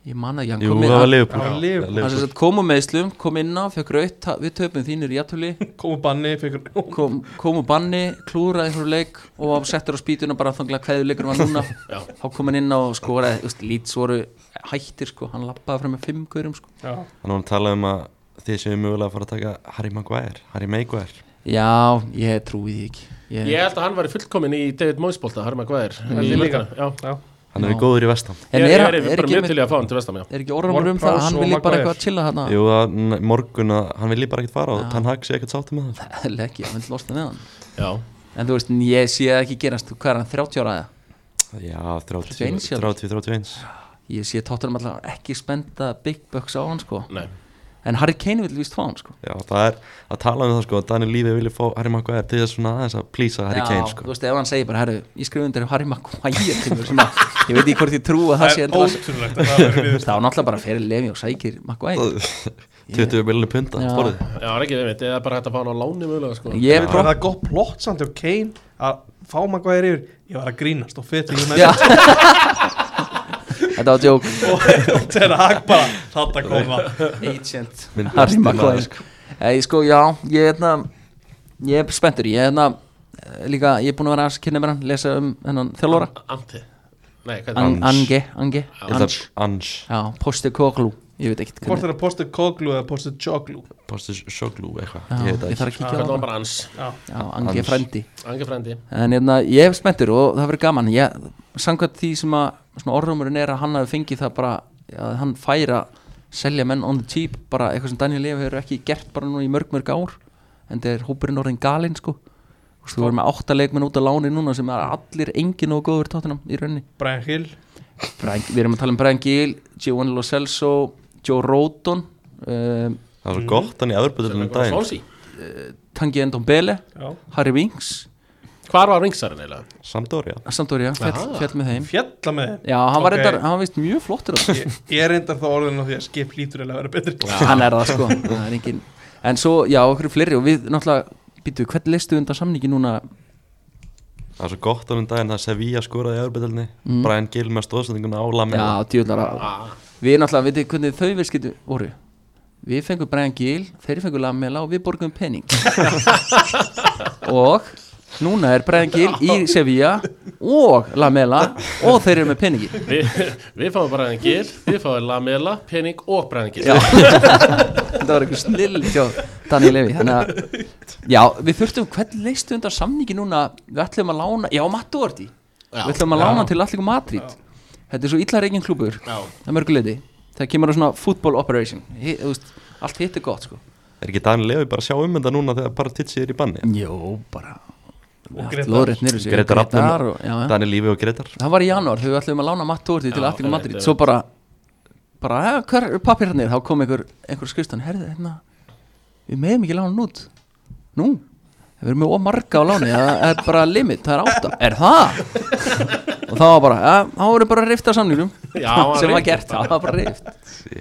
ég man að ég
Jú,
kom
það var
inn
Liverpool
Já, Liverpool.
Já,
hann sem sagt kom um meðslum, kom inn á fekk raukt, við töpum þínir í jættuli
kom úr banni, fekk rautt.
kom, kom úr banni, klúraði einhverju leik og var settur á spýtuna bara þanglega hverju leikur var núna
Já.
þá kom hann inn á og skoraði, just, lít voru hættir sko, hann lappaði fram með fimm gurum sko.
já,
Þannig að hann talaði um að þið séu mögulega að fara að taka Harry Maguire, Harry Maguire
já, ég trúi því ekki ég,
ég held að hann var fullkomin í David Moyesbólta, Harma Gvæðir
Held ég líka.
Já,
já,
Hann er
Já.
góður í vestam
en
ég
er,
Mm. er,
er, er,
bara
ekki
mjög
með,
til í að fá hann til vestam, já
er ekki orðanur um
Ward-Prowse
það að hann
og
vilji bara
Maguire.
eitthvað að chilla hann
Jú, að n- morgun að hann vilji bara ekkert fara og Tan Hag sé ekkert sáttum með það
ekki, hann vil losna með hann
Já,
en þú veist, ég sé það ekki gerast hvað er hann, 30 ára eða?
Já, 30,
31 sjálf.
30, 31
ég sé tóttunum alltaf ekki spenda big bucks á hann sko
nei,
en Harry Kane vil víst fá hann sko
Já, það er að tala um það sko að Daniel Lífi vilja fá Harry Maguire til þess svona aðeins að plýsa Harry Kane
þú
sko
veist, ef hann segir bara, herru, ég skrif undir ef Harry Maguire kemur sem að, ég veit ekki hvort ég trú að það
það
sé
er
endur alls-
ótrúlegt að það verið
Þú
við
veist, það var náttúrulega bara fyrir Levi og sækir Maguire
20 miljonir punta,
Já.
borðið
já, það er ekki einmitt eða bara hægt að fá hann á láni mögulega sko.
ég
Það
próf
er gott plott samt hjá Kane að fá maður hvað er yfir Ég var að grínast og fyrir
Já.
United
þetta var djók
og þegar hag bara þetta kom það
agent
Minn
Harry
besti
Maguire
maður,
sko. Ei, sko, já, ég er hérna ég er spenntur, ég er hérna eh, líka, ég er búin að vera að kynna mér hann lesa um hennan þjálfóra
Anti Nei, hvað er
An- Ange, Ange, Ange
Ange
já, Posti Koglu, ég veit ekkit
Hvort
hvernig
er að posta Koglu eða posta Joglu
Postur Sjóglú eitthvað,
já,
ég
ég
veit það
þarf
ekki sko.
að kíkja á
Hvernig var
það
bara hans
Já,
já, Ange
Ange.
frændi
Angi frændi
En hérna, ég hef spenntur og það verður gaman ég, Samkvæmt því sem að svona orðrumurinn er að hann hafi fengið það bara að hann færi að selja menn on the cheap bara eitthvað sem Daniel Leif hefur ekki gert bara núna í mörg mörg ár en það er hópurinn orðin galinn sko Þú veist, Þú verður með átta leikmenn út á láni núna sem er allir engin og góður tóttunum í rauninni
Brian Hill
Brian, Við erum að tala um Brian Gill, Giovanni Lo Celso Joe Rodon um,
Það var gott hann í aðurböðunum um daginn
Svansi
Tangi Endon Bele,
Já,
Harry Winks
Hvar var ringsarinn eiginlega?
Sampdoria
Sampdoria,
Aha.
fjall, fjall með þeim
fjalla með þeim
Já, hann var,
Ok.
reyndar, hann var vist mjög flottur á
Ég, ég er reyndar þá orðin á því að skip lítur eða vera betri
hann er það sko það er engin... en svo, já, okkur fleiri og við náttúrulega, býtu, hvernig listu undan samningi núna
Það var svo gott hann um daginn að Sevilla skoraði í aðurböðunni Brian Gill með stóðsendinguna á Lamela
Mm. já, djúðlara,
Ah,
við náttúrulega, veitu hvernig þau viðskiptu voru við fengum Brian Gill, þeir fengum Lamela og við borgum pening og núna er Brian Gill í Sevilla og Lamela og þeir eru með peningi
Við við fáum bara hann gil Við fáum Lamela, Pening og Bræðin gil
Já. þetta var eitthvað snill hjá Daniel Levy þannig að já, við þurftum, hvernig leistu undan samningi núna við ætlum að lána, já, Matti Orti við ætlum að lána til allir Madrid þetta er svo illa reygin klúbur
Já.
það er mörguleiti, það kemur á svona football operation Hi, þú veist, allt hitt er gott sko
Er ekki Daniel Levi bara að sjá um þetta núna þegar bara Titsi er í banni?
jó, bara
Og Grétar.
lóðrétt niður sig
Gretar
Grétar
Abdul,
og- já, já.
Daniel Lífi og Gretar
það var í janúar þegar við ætlum að lána Matti Orti til
Já,
allir
einmitt,
Madrid
einmitt.
svo bara, bara "Eh, hver er pappirarnir, þá kom einhver, einhver skrifstan, herði, hérna við meðum ekki lána hann út nú, við erum með ómarga á láni það er bara limit, það er átta er það? og það var bara, ja, þá voru bara að rifta samningum
Já, hann
sem var
rifti
gert, það var bara rift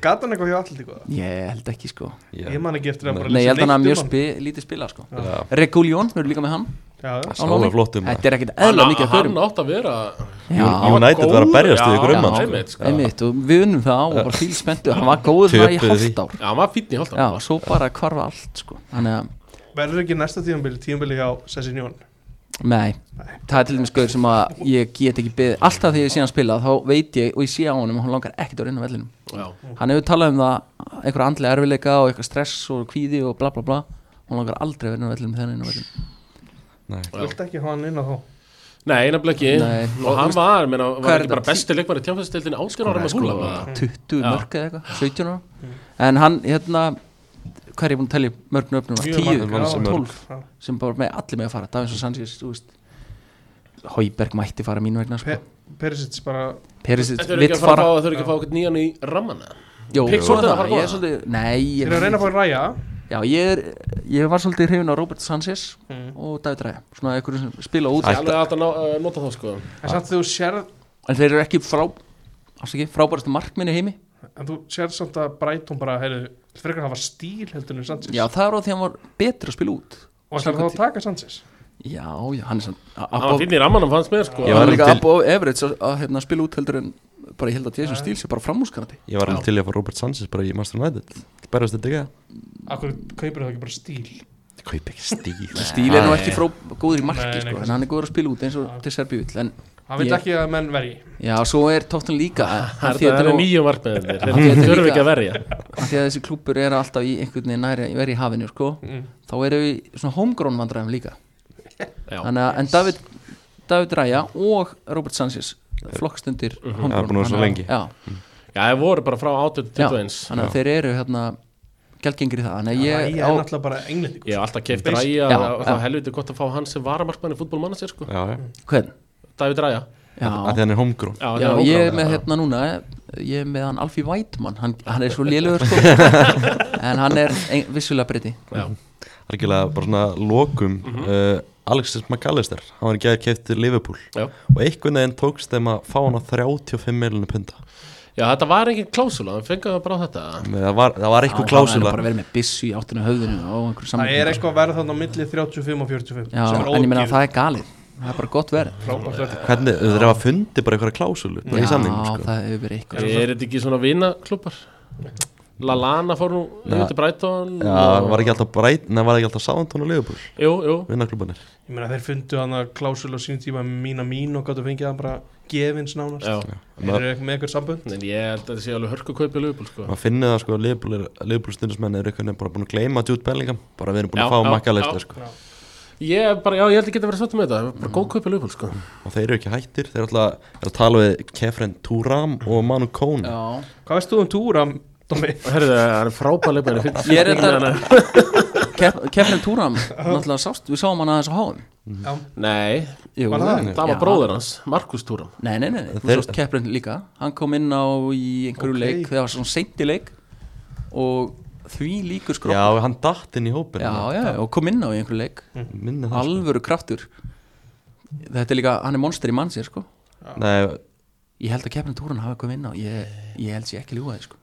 Gat hann eitthvað hjá allir tíku
ég held ekki sko
Ég man ekki eftir að bara
nei, ég held hann að mjög
um
spi, lítið spila sko
Já.
Reguljón, við erum líka með hann
hann. Já, já.
á
Sála
láni.
flott um það.
þetta er ekkit eðla mikið að
Hann
förum
átt að vera
Já.
United var að berjast við ykkur um
Já,
hann
einmitt,
sko.
Einmitt, og við unnum það og bara fílspenntu hann var góður það í
Töpuðu því.
hálft ár
Já, hann var fínn í
Já,
holtan
svo bara hvarfa allt sko Þannig að,
Verður ekki næsta tíðanbili tíðanbili hjá Sessin Jón
nei, það er til dæmis gauður sem að ég get ekki beðið Alltaf þegar ég sé hann spila þá veit ég og ég sé á honum og hann langar ekkert að reyna vellinum
Já,
Hann hefur talað um það, einhverja andlega erfileika og eitthvað stress og kvíði og bla bla bla Hann langar aldrei að reyna vellinum þegar hann er inn á vellinum
Nei.
Já.
Vilt ekki hafa hann inn á þá
Nei, nefnilega ekki
Nei.
Og hann var, menna,
hvað er
var ekki bara
þetta?
besti leikmæri tjáfæðstildin átskjörn ára með
sko,
skúla bara.
20
Mm. Já. Mm.
mörg eða eitthvað, 17 ára en hann hérna hvað er ég búin að tellja mörg nöfnum?
Mjög
10,
marga, já.
12
Já.
sem bara með allir með að fara Davins og Sanchez, þú veist Hauberg mætti fara mín vegna sko.
Pe- Perisic bara
Perisic
Þetta er
vill
ekki að fara
fara
að fá, þau eru ekki að fá okkur nýjan í rammana
Jó,
Pickford
svo er
að fara
það, ég
góða?
er svolítið Nei,
Þeir eru að
ég,
reyna að fá að ræja
já, ég, er, ég var svolítið hrifin á Robert Sanchez
Mm.
og David Ræja svona einhverjum sem spila út
Það er alveg hægt að ná- uh, nota þá sko
En samt þú sérð
en þeir eru ekki frá afsaki, frábærastu markminni í heimi
En þú sérð samt að Brighton bara heyrðu, Frekar hafa stíl heldur en Sanchez
Já, það er á því að hann var betur að spila út
Og ætlar þá að taka Sanchez
Já, já, hann er sann
Hann var fínn í rammanum fannst mér sko
Ég
Ég
var
var líka
til-
above average að, að hérna, spila út heldur en bara ég held að Jason Steele sé bara framhúskanandi
Ég var alveg til í að fá Robert Sanchez bara í Master United Berðast þetta ekki það?
Akkur kaupir það ekki bara stíl
Ég kaup ekki stíl
Steele er nú
Nei.
ekki frá góður í marki
Nei, nei,
sko,
kannski.
en hann er góður að spila út eins og til Serbíu vill en
Hann veit
Ég-
ekki að menn verji
já, svo er tóttan líka
Það
að
er
því
þetta
að þetta
er
nú-
nýjum markmiðin
Af
Þeir
því þetta er
þurfum
líka-
ekki að verja
af því að þessi klúpur er alltaf í einhvern veginn næri verið í hafinu sko,
Mm.
þá erum við í svona homegrown vandræðum líka
Já.
Þannig að, en David, David Ræja og Robert Sanchez flokkstundir
Mhm.
homegrown
Já, búin að vera svo lengi.
Þannig að- já,
Já, þeir voru bara frá 18 til
Já,
21
þannig að þeir eru hérna gælgengri það þannig að
Ræja
ég
er
á,
náttúrulega bara englendingur
Ég hef alltaf keift
Basic.
ræja
Já,
og það
já.
var helviti gott að fá hann sem varamarkmann í fútbolmanna sér sko
Já, já
hvern?
David Ræja
Já,
Af Því hann er homegrown
Já,
já
hann
ég
ókláraður,
er með
já.
hérna núna ég er með hann Alfie Whiteman hann, hann er svo lélugur sko en hann er ein, vissulega breyti
Já.
Algjörlega bara svona lokum
Mhm.
uh, Alexis McAllister Hann var ekki að kæft til Liverpool
Já.
Og einhvern veginn tókst þeim að fá hann á 35 miljonir punta
hérna-
Já, þetta var engin klásula, það fengaði bara á þetta
Það var, það var eitthvað
hann er
klásula
bara verið með bissu í áttinu höfðinu og einhverju
Það
samlingum
er eitthvað að verða þannig á milli 35 og 45
já,
sem er
en ég meina
ógeð.
að það er galið það er bara gott verið
Frábært verð.
Hvernig, þeir hafa fundið bara eitthvað klásulu Bara í samning
já,
sko.
það hefur verið eitthvað
Er þetta ekki svona vinaklúpar? Lalana fór nú
Já.
yfir til Brighton
Já,
og-
var ekki alltaf breyt Nei, var ekki alltaf Southampton og Liverpool
Jú, jú
Vinnarklubanir
Ég meina þeir fundu hann að klásul á sínum tíma mína mín og gáttu fengið hann bara gefins nánast
Já,
Þeir eru ekki með eitthvað sambund
en ég held að þetta sé alveg hörku kaupið lögbúl sko
maður finnir það sko að Liverpool er- Liverpool stundismenn eru einhvern veginn bara búin að gleyma Jude Bellingham bara við erum búin að
Já,
fá
já,
makkaleistir
já.
sko
Ég er bara, já, ég held að geta verið svolítið með þetta bara góð kaupið lögbúl sko
og þeir eru ekki hættir þeir eru alltaf er að tala við Kefren Turam og Manu Kone
já,
Hvað veist þú um túra, Dómi?
Herðu, það er frábæð leikmæri
Ég er þetta- Kef, Kefrin Túram náttúrulega sást, við sáum hann aðeins á háum
Já,
Nei,
Jú,
Var það?
það var
Já.
bróður hans, Markus Túram
Nei, nei, nei, nei. þú
Þeir-
sást Keprin líka Hann kom inn á í einhverju
Ok.
leik Það var svona seinti leik Og því líkur skrók
já hann datt inn í hópin
já, já, og kom inn á í einhverju leik
minni það sko.
Alvöru kraftur Þetta er líka, hann er monster í mann sér sko
Nei,
Ég held að Keprin Túran hafi komið inn á Ég, ég held sér ekki ljúga þið sko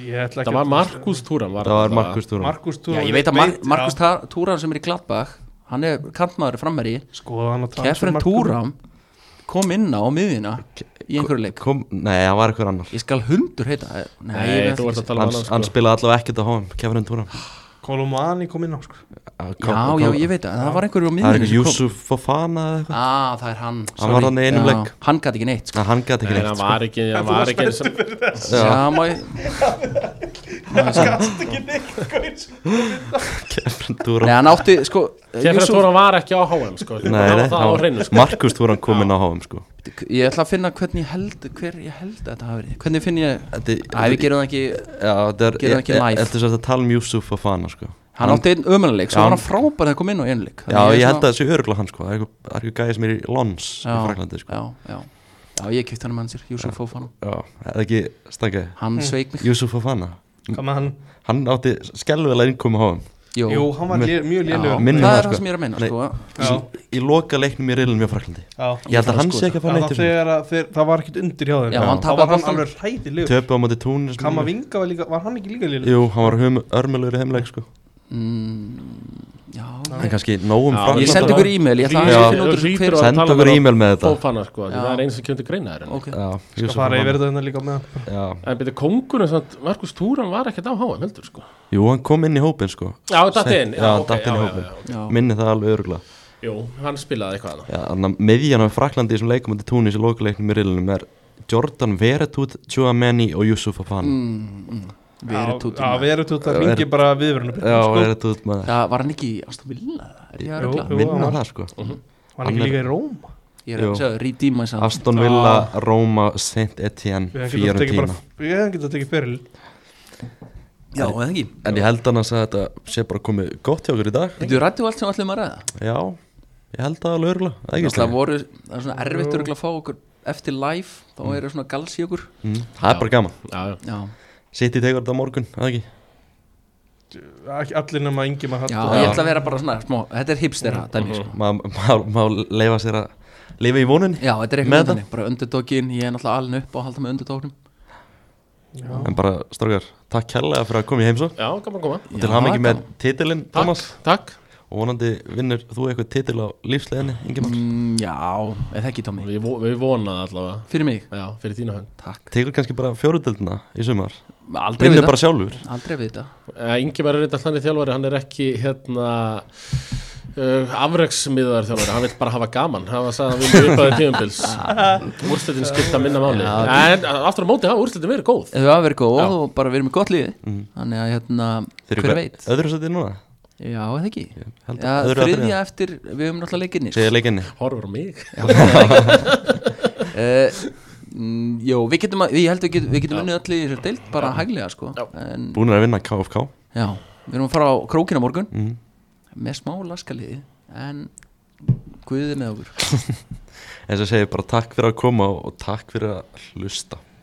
ég ætla ekki
Það var Markus Túram
það var Markus Turam
Markus
já,
túra
Ég veit að Mar Markus Túran sem er í Gladbach Hann er kantmaður frammeri
Skoða hann að
Keprin Túram kom inn á miðina Í einhverju leik
kom nei það var einhver annar
Ég skal hundur heita
Nei,
Nei, ég veit
þú
ekki.
ert að tala um
hann,
hann
hann
sko
spilaði allavega ekkert á HM Kefren Turam
Kolumani kom inn á sko.
Já, já, ég veit að það var einhverju á
það er
miðjunni
einhver Yusuf Fofana eða eitthvað
Ah, það er hann
Hann
sorry.
var þarna í einum
Já,
leik.
Hann gæti ekki neitt sko.
Nei, hann gæti ekki
Nei,
neitt
hann
sko.
var ekki, hann var ekki eins og-
Já, má ég
Kefren
Nei,
Turam
hann átti, sko
Kefra
Yusuf,
Túram var ekki á HM sko Nei,
Nei, nei,
það á hreinu
hann-
sko
Markus Turam kom inn á HM sko
Ég ætla að finna hvernig ég held Hver ég held að þetta hafi verið Hvernig finn ég
Þetta er-
Æ, við gerum það ekki
Já, þetta er
Gerum ekki
e- e-
live.
Þetta er sem sagt að tala um Yusuf og Fana sko
Hann átti einn ömuleik Svo
Já.
var hann frábær að koma inn á einn leik
Já, ég held að það sé öruglega hann sko Það er einhver- það er eitthvað gæði sem er í Lons í Fraklandi sko
Já, já Já, ég kýtti hann með hans sér Yusuf
Mm.
Fofana
Já, eða ekki stangið
Hann sveik mig
Yusuf og Fana
Hvað með hann?
Hann átti skelvilega innkomi á hann
Jú,
Jú, hann var
Minn-
lé- mjög
já,
lélugur
Minnir
Það
það,
er það
sko.
sem ég er að meina,
Nei.
sko
Í loka leiknum í reilunum í Fraklandi
Já.
Ég held að hann sé ekki að fá
Það
neitt
var
úr þessu.
þegar að þeir- það var ekkert undir hjá þeim
Já, hann
Þá
tapaði
var hann
boltanum.
alveg hrætilegur
Töpu á móti túnis
Kamavinga var líka, var hann ekki líka lélugur?
Jú, hann var hum- örmulegur í heimleik sko
Mm, Já,
En kannski um nógum
Já,
Frakland
Ég sendi ykkur e-mail Ég ætla
Já.
að finna út úr þessu hver-
Send
Tala
okkur
um
e-mail með þetta
Fofana sko, því
Já.
það er eins sem kemur til greina þér
Ok.
Já,
Skal
Yusuf
fara yfir
Fofana.
þetta hérna líka með hann
Já.
En byrja kóngurinn, samt, Markus Túram var ekkert á HM heldur sko
Jú, hann kom inn í hópin sko
Já, datt
Seint-
inn
já, hann datt inn í
já,
hópinn.
já, já.
Já.
Minni það alveg öruglega
Jú, hann spilaði eitthvað annað
Já, þannig að miðjan á Fraklandi sem leikum undir Túnis í lokuleiknum í riðlunum er Jordan Veretút, Tjóameni og Yusuf Afan
Mm, mm. Verið
Já,
tútum
verið tútum
Já,
ringi
verið-
bara viðvörunum
Já, er þetta út Sko, maður
Það var hann ekki í Aston Villa Er ég að
Jú,
regla?
jú.
Vinna
hann-
það sko
Var hann ekki
Hann er-
líka í Róm?
Ég er að
Jú.
segja, redeem myself
Aston Villa, Roma, Saint Etienne,
Við hefum getað tekið
Fiorentina
bara Við hefum getað tekið feril
Já, eða ekki
En ég held annars að þetta sé bara komið gott hjá okkur í dag
Þetta er rættu allt sem allir maður ræða
Já, ég held það alveg örgulega Það er ekki
Það
slæmt
voru, það er svona erfitt örugglega að fá okkur eftir live, þá eru svona gals í okkur
Mm, Það er bara gaman
Já, já.
Já,
Sitt í tegur þetta á morgun, það ekki
Ekki Allir nema yngi maður
já, ég ætla að vera bara svona smá, þetta er hipstera dæmi sko.
Má ma, ma leifa sér að lifa í voninni
Já, þetta er
Með
eitthvað
það?
þannig, bara underdogin, ég er náttúrulega alin upp á að halda með underdognum
En bara, strókar, takk kærlega fyrir að koma í heimsó
já gaman að koma
Og
Já,
til hafa ekki með
gaman.
titilinn, Thomas
Takk, takk
Og vonandi vinnur þú eitthvað titil á lífsleginni, Ingemar
Mm, Já, eða ekki Tómi
Við, vo- við vonaði allavega
Fyrir mig,
Já, fyrir þína hönd
takk
Tekur kannski bara fjóruðildina í sumar
Aldrei
Vinnur
við
bara sjálfur
það Aldrei við það
Ingemar Eh, er reynda þannig þjálfari Hann er ekki hérna uh, afreksmiðar þjálfari Hann vil bara hafa gaman Hann var sagði að við erum uppaðið tíumbils Úrslitin skipta minna máli
Já.
En aftur á móti, já, úrslitin verið góð
Ef við hafa verið góð
Já.
og bara verið með gott lífi
Mhm.
Þannig að hérna,
Þeir eru
hver
hvað-
veit
Öðru sæti núna
Já, eða ekki
held
Já,
að- öðru eða
þriðja
þriðja.
eftir, við höfum náttúrulega leikinni
Segja leikinni
Horfur á mig
uh, Jó, við getum að, ég held að við getum, við getum unnið öll í þessu deild Bara hæglega, sko
Já.
En,
Búnir að vinna KFK
já, við erum að fara á krókina morgun
Mhm.
Með smá laskaliði En guðið með okkur
En sem segir bara takk fyrir að koma og- og takk fyrir að hlusta